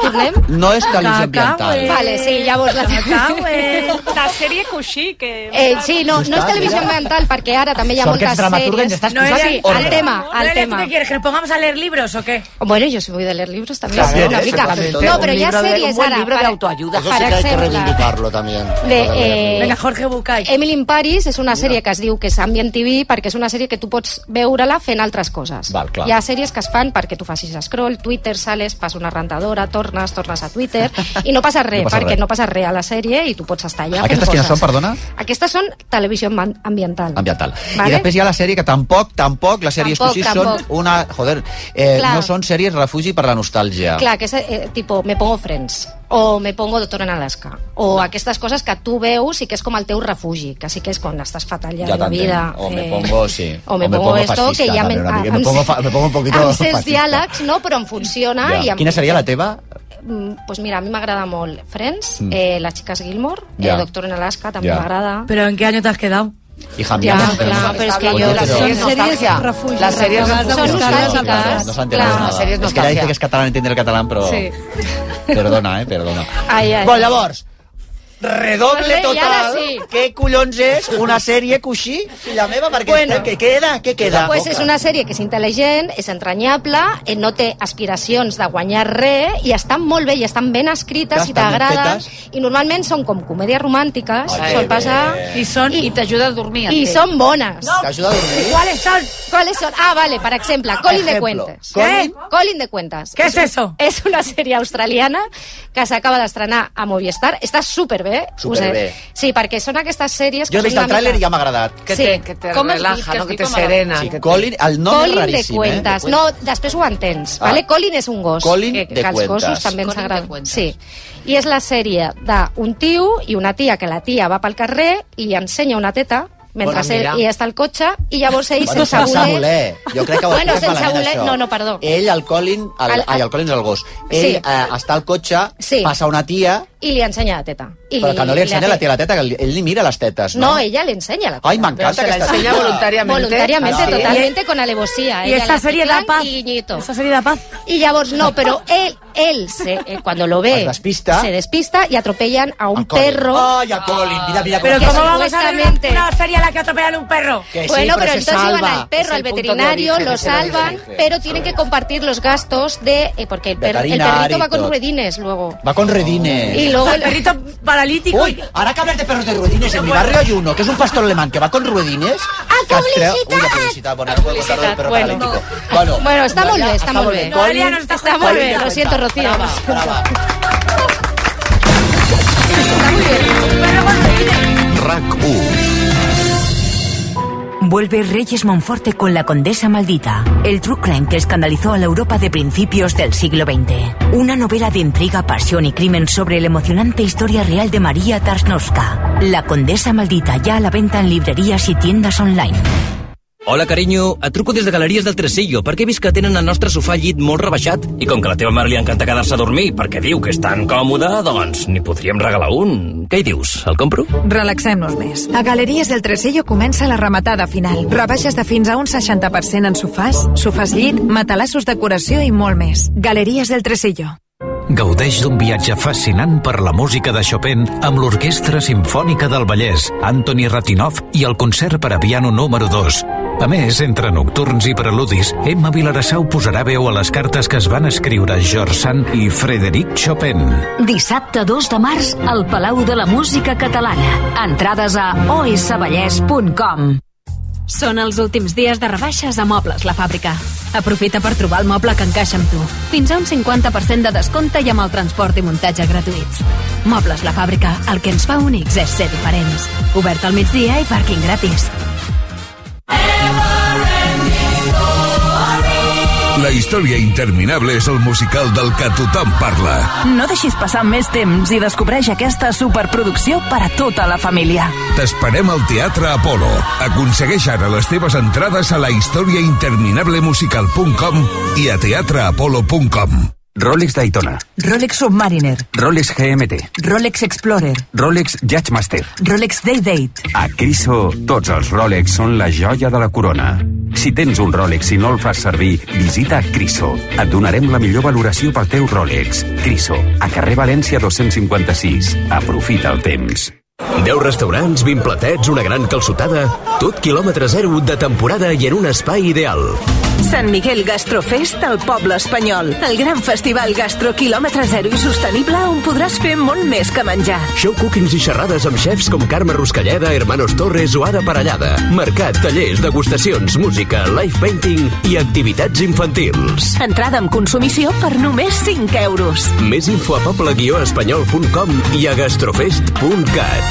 Speaker 1: Tornem?
Speaker 3: no és televisió ambiental.
Speaker 1: Vale, sí, llavors la
Speaker 5: La sèrie Coixí, que...
Speaker 1: Eh, sí, no, no és televisió ambiental, perquè ara també hi ha
Speaker 2: Sort que
Speaker 1: moltes
Speaker 2: ets dramaturga i ens
Speaker 1: sèries.
Speaker 2: estàs
Speaker 1: No
Speaker 2: posant
Speaker 1: sí,
Speaker 2: ordre.
Speaker 1: al tema,
Speaker 15: ¿No
Speaker 1: al
Speaker 15: era tú
Speaker 1: tema.
Speaker 15: que quieres? ¿Que nos pongamos a leer libros o qué?
Speaker 1: Bueno, yo soy muy de leer libros también,
Speaker 15: Claro,
Speaker 1: sí, una
Speaker 15: ¿eh?
Speaker 1: mica.
Speaker 15: Exactamente.
Speaker 1: No,
Speaker 15: Un
Speaker 1: però hi ha
Speaker 15: libro de-
Speaker 1: sèries
Speaker 15: un buen
Speaker 1: ara...
Speaker 15: libro de
Speaker 1: per-
Speaker 15: autoayuda.
Speaker 8: Eso sí
Speaker 1: per
Speaker 8: que hay que
Speaker 1: exemple,
Speaker 8: reivindicarlo también.
Speaker 1: de,
Speaker 8: Lo de-
Speaker 1: eh,
Speaker 15: Venga, Jorge Bucay.
Speaker 1: Emily in Paris és una sèrie que es diu que és Ambient TV perquè és una sèrie que tu pots veure-la fent altres coses.
Speaker 3: Val, clar.
Speaker 1: Hi ha sèries que es fan perquè tu facis scroll, Twitter, sales, fas una rentadora, tornes, tornes a Twitter i no passa res,
Speaker 3: No passa
Speaker 1: perquè
Speaker 3: res.
Speaker 1: no passa res a la sèrie i tu pots estar allà
Speaker 3: Aquestes
Speaker 1: fent
Speaker 3: quines són,
Speaker 1: coses.
Speaker 3: perdona?
Speaker 1: Aquestes són televisió ambi- ambiental.
Speaker 3: Ambiental.
Speaker 1: Vale.
Speaker 3: I després hi ha la sèrie que tampoc, tampoc, les sèries
Speaker 1: Tampoc,
Speaker 3: coixís
Speaker 1: tampoc.
Speaker 3: són una... Joder, eh,
Speaker 1: Clar.
Speaker 3: no són sèries refugi per la nostàlgia.
Speaker 1: Clar, que és eh, tipo, me pongo Friends, o me pongo Doctor en Alaska, o aquestes coses que tu veus i que és com el teu refugi, que sí que és quan estàs fatal ja, de la
Speaker 3: t'entenc.
Speaker 1: vida. eh,
Speaker 3: O me pongo, sí.
Speaker 1: O me, pongo, esto,
Speaker 3: fascista,
Speaker 1: que ja
Speaker 3: també,
Speaker 1: me,
Speaker 3: una mica.
Speaker 1: em-
Speaker 3: me, pongo, fa- me pongo un poquito
Speaker 1: Amb certs
Speaker 3: fascista.
Speaker 1: diàlegs, no, però em funciona.
Speaker 3: Ja.
Speaker 1: I em,
Speaker 3: Quina seria la teva?
Speaker 1: Mm, Pues mira, a mi m'agrada molt Friends,
Speaker 3: Mm.
Speaker 1: eh, Les xiques Gilmore,
Speaker 3: Ja.
Speaker 1: eh, Doctor en Alaska també
Speaker 3: Ja.
Speaker 1: m'agrada.
Speaker 15: ¿Pero en qué año te has quedado?
Speaker 3: Hija mía.
Speaker 1: Ja,
Speaker 3: no,
Speaker 1: clar,
Speaker 3: no,
Speaker 1: però és que
Speaker 3: Oye,
Speaker 1: jo...
Speaker 3: pero-
Speaker 1: refugi.
Speaker 14: Las series
Speaker 1: Són
Speaker 14: refugi.
Speaker 1: nostàlgiques.
Speaker 3: No s'ha entès nada.
Speaker 14: Las series
Speaker 3: És que ella dice que
Speaker 14: nostàlgia.
Speaker 3: és català, no entiende el catalán, però... Perdona, eh, perdona.
Speaker 1: Ai, ai.
Speaker 3: Bon, llavors,
Speaker 1: Vale,
Speaker 3: redoble
Speaker 1: i ara
Speaker 3: total.
Speaker 1: sí.
Speaker 3: Què collons és una sèrie coixí, filla meva? Perquè bueno. què queda? Què queda?
Speaker 1: Pues és una sèrie que és intel·ligent, és entranyable, eh, no té aspiracions de guanyar res i estan molt bé i estan ben escrites
Speaker 12: Ja
Speaker 1: i
Speaker 12: estan ben
Speaker 1: t'agraden.
Speaker 12: fetes.
Speaker 1: I normalment són com comèdies romàntiques,
Speaker 12: Ai,
Speaker 1: sol
Speaker 12: bé.
Speaker 1: passar...
Speaker 12: I
Speaker 1: són... I,
Speaker 9: t'ajuda a dormir.
Speaker 1: I
Speaker 9: entenc.
Speaker 1: són bones.
Speaker 9: No. T'ajuda a dormir?
Speaker 1: ¿Cuáles son? ¿Cuáles son? Ah, vale, per exemple, Colin de Cuentes.
Speaker 9: Colin?
Speaker 1: Eh? Colin de Cuentes.
Speaker 15: ¿Qué
Speaker 1: És
Speaker 15: es
Speaker 1: un-
Speaker 15: eso?
Speaker 1: És una sèrie australiana que s'acaba d'estrenar a Movistar. Està superbé. us
Speaker 3: Superbé.
Speaker 1: he- Sí, perquè són aquestes sèries que
Speaker 3: Jo he vist
Speaker 1: són
Speaker 3: el
Speaker 1: una
Speaker 3: tràiler
Speaker 1: mica-
Speaker 3: i ja m'ha agradat.
Speaker 1: Que Sí. te- que te
Speaker 14: Com es relaja, diu? Que no? es Que diu te com a la- serena,
Speaker 3: Sí,
Speaker 14: que te-
Speaker 3: Colin, el nom és
Speaker 1: Colin de
Speaker 3: raríssim,
Speaker 1: cuentas.
Speaker 3: eh?
Speaker 1: No, després ho entens.
Speaker 3: Ah.
Speaker 1: Vale? Colin és un gos.
Speaker 3: Colin
Speaker 1: que,
Speaker 3: de
Speaker 1: que els
Speaker 3: cuentas.
Speaker 1: gossos també ens
Speaker 3: Colin de
Speaker 1: agraden. Sí. I és la sèrie d'un tio i una tia, que la tia va pel carrer i li ensenya una teta mentre
Speaker 3: Bona
Speaker 1: ell
Speaker 3: mira.
Speaker 1: hi està al cotxe i llavors ell
Speaker 3: Bueno,
Speaker 1: sense voler...
Speaker 3: Jo crec que ho
Speaker 1: Bueno,
Speaker 3: expliques
Speaker 1: sense
Speaker 3: malament,
Speaker 1: voler-
Speaker 3: això.
Speaker 1: no, no, perdó.
Speaker 3: Ell, el Colin... El,
Speaker 1: El-
Speaker 3: ai, el Colin és el gos. Ell
Speaker 1: Sí.
Speaker 3: eh, està al cotxe,
Speaker 1: Sí.
Speaker 3: passa una tia,
Speaker 1: I li ensenya la teta. I
Speaker 3: però que no li ensenya
Speaker 1: hace-
Speaker 3: la tia la teta, que li- ell li mira les tetes,
Speaker 1: No,
Speaker 3: no?
Speaker 1: ella le ensenya la teta.
Speaker 3: Ai, m'encanta aquesta
Speaker 1: enseña
Speaker 3: tia.
Speaker 1: Voluntariamente,
Speaker 3: Sí.
Speaker 1: totalmente, con alevosía.
Speaker 15: Y
Speaker 1: Ella
Speaker 15: esa
Speaker 1: le hace
Speaker 15: serie da
Speaker 1: clan
Speaker 15: paz.
Speaker 1: Y guiñito.
Speaker 15: Esa serie da paz.
Speaker 1: Y Llavors, no, pero él, él se, eh, cuando lo ve,
Speaker 3: Es despista.
Speaker 1: se despista y atropellan a un
Speaker 3: Colin.
Speaker 1: perro.
Speaker 3: Ay, a Colin, mira, mira
Speaker 15: Pero
Speaker 1: Que
Speaker 15: ¿cómo vamos a ver
Speaker 1: supuestamente-
Speaker 15: una serie a la que atropellan un perro?
Speaker 3: Que sí,
Speaker 1: bueno, pero,
Speaker 3: pero se
Speaker 1: entonces llevan
Speaker 3: salva.
Speaker 1: al perro,
Speaker 3: Es
Speaker 1: al
Speaker 3: el punto de
Speaker 1: veterinario,
Speaker 3: origen,
Speaker 1: lo
Speaker 3: es el origen.
Speaker 1: salvan, pero tienen que compartir los gastos de... eh, porque el, per- el
Speaker 3: Veterinario Eh.
Speaker 1: perrito va
Speaker 3: y
Speaker 1: con
Speaker 3: todo.
Speaker 1: ruedines luego.
Speaker 3: Va con redines.
Speaker 1: Y luego
Speaker 15: el perrito paralítico.
Speaker 3: Uy, ahora que hablas de perros de ruedines, en mi barrio hay uno que es un pastor alemán que va con ruedines. ¡A Uy, la publicidad, bueno, no puedo contar lo del perro
Speaker 1: Ah, Bueno.
Speaker 3: paralítico. Bueno,
Speaker 1: Bueno, está muy bien, está
Speaker 3: está
Speaker 1: muy
Speaker 3: muy
Speaker 1: bien.
Speaker 3: bien. Colin,
Speaker 1: Está muy
Speaker 3: Colin
Speaker 1: bien, lo
Speaker 3: de
Speaker 1: siento,
Speaker 3: cuentas.
Speaker 1: Rocío.
Speaker 3: Brava,
Speaker 4: RAC 1
Speaker 2: Vuelve Reyes Monforte con La Condesa Maldita, el true crime que escandalizó a la Europa de principios del siglo XX. Una novela de intriga, pasión y crimen sobre la emocionante historia real de María Tarsnowska. La Condesa Maldita, ya a la venta en librerías y tiendas online.
Speaker 4: Hola, carinyo. Et truco des de Galeries del Tresillo perquè he vist que tenen el nostre sofà llit molt rebaixat i com que a la teva mare li encanta quedar-se a dormir perquè diu que és tan còmode, doncs n'hi podríem regalar un. Què hi dius? El compro?
Speaker 6: Relaxem-nos més. A Galeries del Tresillo comença la rematada final. Rebaixes de fins a un 60% en sofàs, sofàs llit, matalassos decoració i molt més. Galeries del Tresillo.
Speaker 7: Gaudeix d'un viatge fascinant per la música de Chopin amb l'Orquestra Simfònica del Vallès, Anthony Ratinov i el concert per a piano número 2. A més, entre nocturns i preludis, Emma Vilarassau posarà veu a les cartes que es van escriure George Sand i Frederic Chopin.
Speaker 13: Dissabte 2 de març al Palau de la Música Catalana. Entrades a osvallès.com.
Speaker 20: Són els últims dies de rebaixes a Mobles La Fàbrica. Aprofita per trobar el moble que encaixa amb tu. Fins a un 50% de descompte i amb el transport i muntatge gratuïts. Mobles La Fàbrica, el que ens fa únics és ser diferents. Obert al migdia i pàrquing gratis.
Speaker 27: La història interminable és el musical del que tothom parla.
Speaker 28: No deixis passar més temps i descobreix aquesta superproducció per a tota la família.
Speaker 27: T'esperem al Teatre Apolo. Aconsegueix ara les teves entrades a la historiainterminablemusical.com i a teatreapolo.com.
Speaker 29: Rolex Daytona,
Speaker 30: Rolex Submariner,
Speaker 29: Rolex GMT,
Speaker 30: Rolex Explorer,
Speaker 29: Rolex Judgemaster.
Speaker 30: Rolex Day Date.
Speaker 29: A Criso, tots els Rolex són la joia de la corona. Si tens un Rolex i no el fas servir, visita Criso. Et donarem la millor valoració pel teu Rolex. Criso, a carrer València 256. Aprofita el temps.
Speaker 23: 10 restaurants, 20 platets, una gran calçotada... Tot quilòmetre zero de temporada i en un espai ideal.
Speaker 24: Sant Miguel Gastrofest al poble espanyol. El gran festival gastro quilòmetre zero i sostenible on podràs fer molt més que menjar.
Speaker 23: Show cookings i xerrades amb xefs com Carme Ruscalleda, Hermanos Torres o Ada Parellada. Mercat, tallers, degustacions, música, live painting i activitats infantils.
Speaker 24: Entrada amb consumició per només 5 euros.
Speaker 23: Més info a poble-espanyol.com i a gastrofest.cat.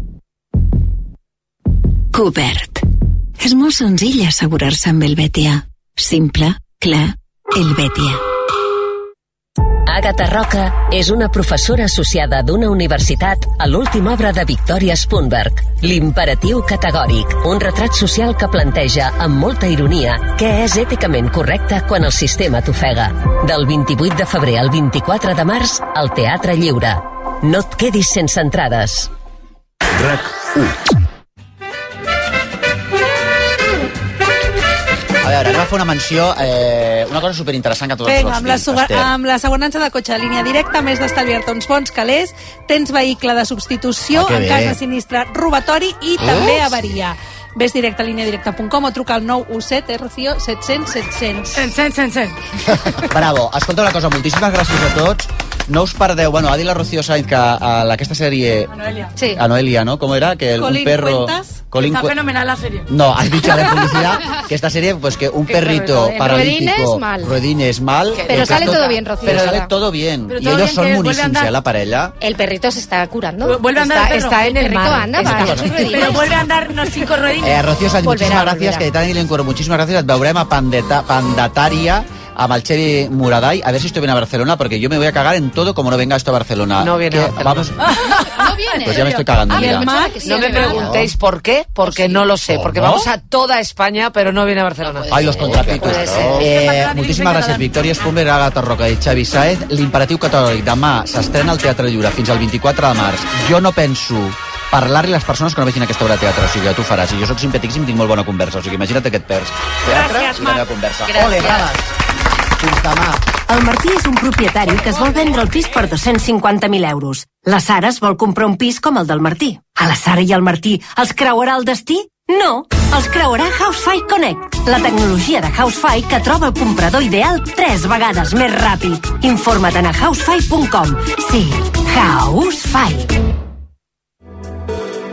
Speaker 31: Cobert. És molt senzill assegurar-se amb el Betia. Simple, clar, el Betia.
Speaker 32: Àgata Roca és una professora associada d'una universitat a l'última obra de Victoria Spunberg, L'imperatiu categòric, un retrat social que planteja amb molta ironia què és èticament correcte quan el sistema t'ofega. Del 28 de febrer al 24 de març, al Teatre Lliure. No et quedis sense entrades.
Speaker 23: RAC 1.
Speaker 3: A veure, anem a fer una menció, eh, una cosa superinteressant que tots
Speaker 17: Vinga, amb, la
Speaker 3: els
Speaker 17: suba- amb l'assegurança de cotxe de línia directa, a més d'estalviar-te uns bons calés, tens vehicle de substitució
Speaker 3: Ah, que
Speaker 17: en cas
Speaker 3: bé.
Speaker 17: de sinistre, robatori i
Speaker 3: Eh?
Speaker 17: també avaria. Ves directe a lineadirecta.com o truca al 917 RCIO 700 700. 700 700.
Speaker 3: Bravo. Escolta una cosa, moltíssimes gràcies a tots. No us perdeu, bueno, ha dit la Rocío Sainz que a la- aquesta sèrie...
Speaker 17: Sí.
Speaker 3: A Noelia, ¿no? ¿Cómo era? Que el- un
Speaker 15: Colin
Speaker 3: perro...
Speaker 15: Cuentas.
Speaker 3: Colin
Speaker 15: Está
Speaker 3: Cue-
Speaker 15: fenomenal la serie.
Speaker 3: No, has dicho de publicidad que esta serie, pues que un
Speaker 15: Que
Speaker 3: perrito
Speaker 15: perro, eh.
Speaker 3: paralítico,
Speaker 1: Rodines mal.
Speaker 3: Rodines mal.
Speaker 1: Pero
Speaker 3: que
Speaker 1: sale
Speaker 3: toca-
Speaker 1: todo bien, Rocío,
Speaker 3: Pero
Speaker 1: ahora.
Speaker 3: sale todo bien.
Speaker 1: Pero
Speaker 3: y
Speaker 1: todo
Speaker 3: ellos
Speaker 1: bien,
Speaker 3: son
Speaker 1: que vuelve a
Speaker 3: buenísimos,
Speaker 1: andar.
Speaker 3: ¿eh? La parella.
Speaker 1: El perrito se está curando.
Speaker 15: Vuelve a andar
Speaker 1: está,
Speaker 15: el perro.
Speaker 1: está en el,
Speaker 15: El perrito
Speaker 1: mar.
Speaker 15: anda,
Speaker 1: Está
Speaker 15: vale.
Speaker 1: con rodillas.
Speaker 15: Pero vuelve a andar unos cinco rodillas.
Speaker 3: Eh, Rocío Sánchez,
Speaker 15: Volverá,
Speaker 3: muchísimas gracias,
Speaker 15: volverá.
Speaker 3: que de Tani Lincuero, muchísimas gracias. Et veurem a Pandeta, Pandataria amb el Cheri Muraday, a ver si estoy bien a Barcelona, porque yo me voy a cagar en todo como no venga esto a Barcelona.
Speaker 14: No viene
Speaker 3: Que-
Speaker 14: a Barcelona.
Speaker 3: Vamos,
Speaker 15: No viene.
Speaker 3: Pues ya me estoy cagando, mira.
Speaker 14: no me preguntéis por qué,
Speaker 1: Pues
Speaker 14: porque no lo sé, porque
Speaker 3: ¿no?
Speaker 14: vamos a toda España, pero no viene a Barcelona.
Speaker 3: Ai, los contrapitos. No? Eh, moltíssimes gràcies, Victòria Escomer, Agatha Roca i Xavi Saez. L'imperatiu catòlic demà s'estrena al Teatre Lliure fins al 24 de març. Jo no penso parlar-li a les persones que no vegin aquesta obra de teatre, o sigui, ja t'ho faràs. I jo sóc simpatíssim, tinc molt bona conversa, o sigui, imagina't aquest pers. Teatre i la meva conversa. Ole, braves. Fins demà.
Speaker 32: El Martí és un propietari que es vol vendre el pis per 250.000 euros. La Sara es vol comprar un pis com el del Martí. A la Sara i al Martí els creuarà el destí? No, els creuarà Housefy Connect, la tecnologia de Housefy que troba el comprador ideal tres vegades més ràpid. Informa't a housefy.com. Sí, Housefy.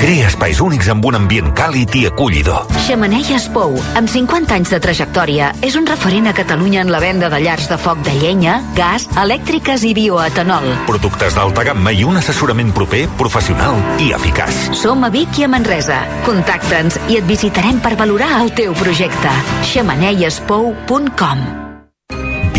Speaker 11: Crea espais únics amb un ambient càlid i acollidor.
Speaker 33: Xemeneies Pou, amb 50 anys de trajectòria, és un referent a Catalunya en la venda de llars de foc de llenya, gas, elèctriques i bioetanol.
Speaker 11: Productes d'alta gamma i un assessorament proper, professional i eficaç.
Speaker 33: Som a Vic i a Manresa. Contacta'ns i et visitarem per valorar el teu projecte. xemeneiespou.com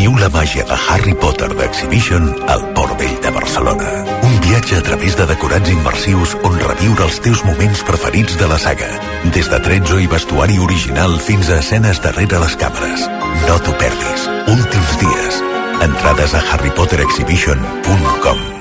Speaker 12: Viu la màgia de Harry Potter d'Exhibition al Port Vell de Barcelona. Un viatge a través de decorats immersius on reviure els teus moments preferits de la saga. Des de tretzo i vestuari original fins a escenes darrere les càmeres. No t'ho perdis. Últims dies. Entrades a harrypotterexhibition.com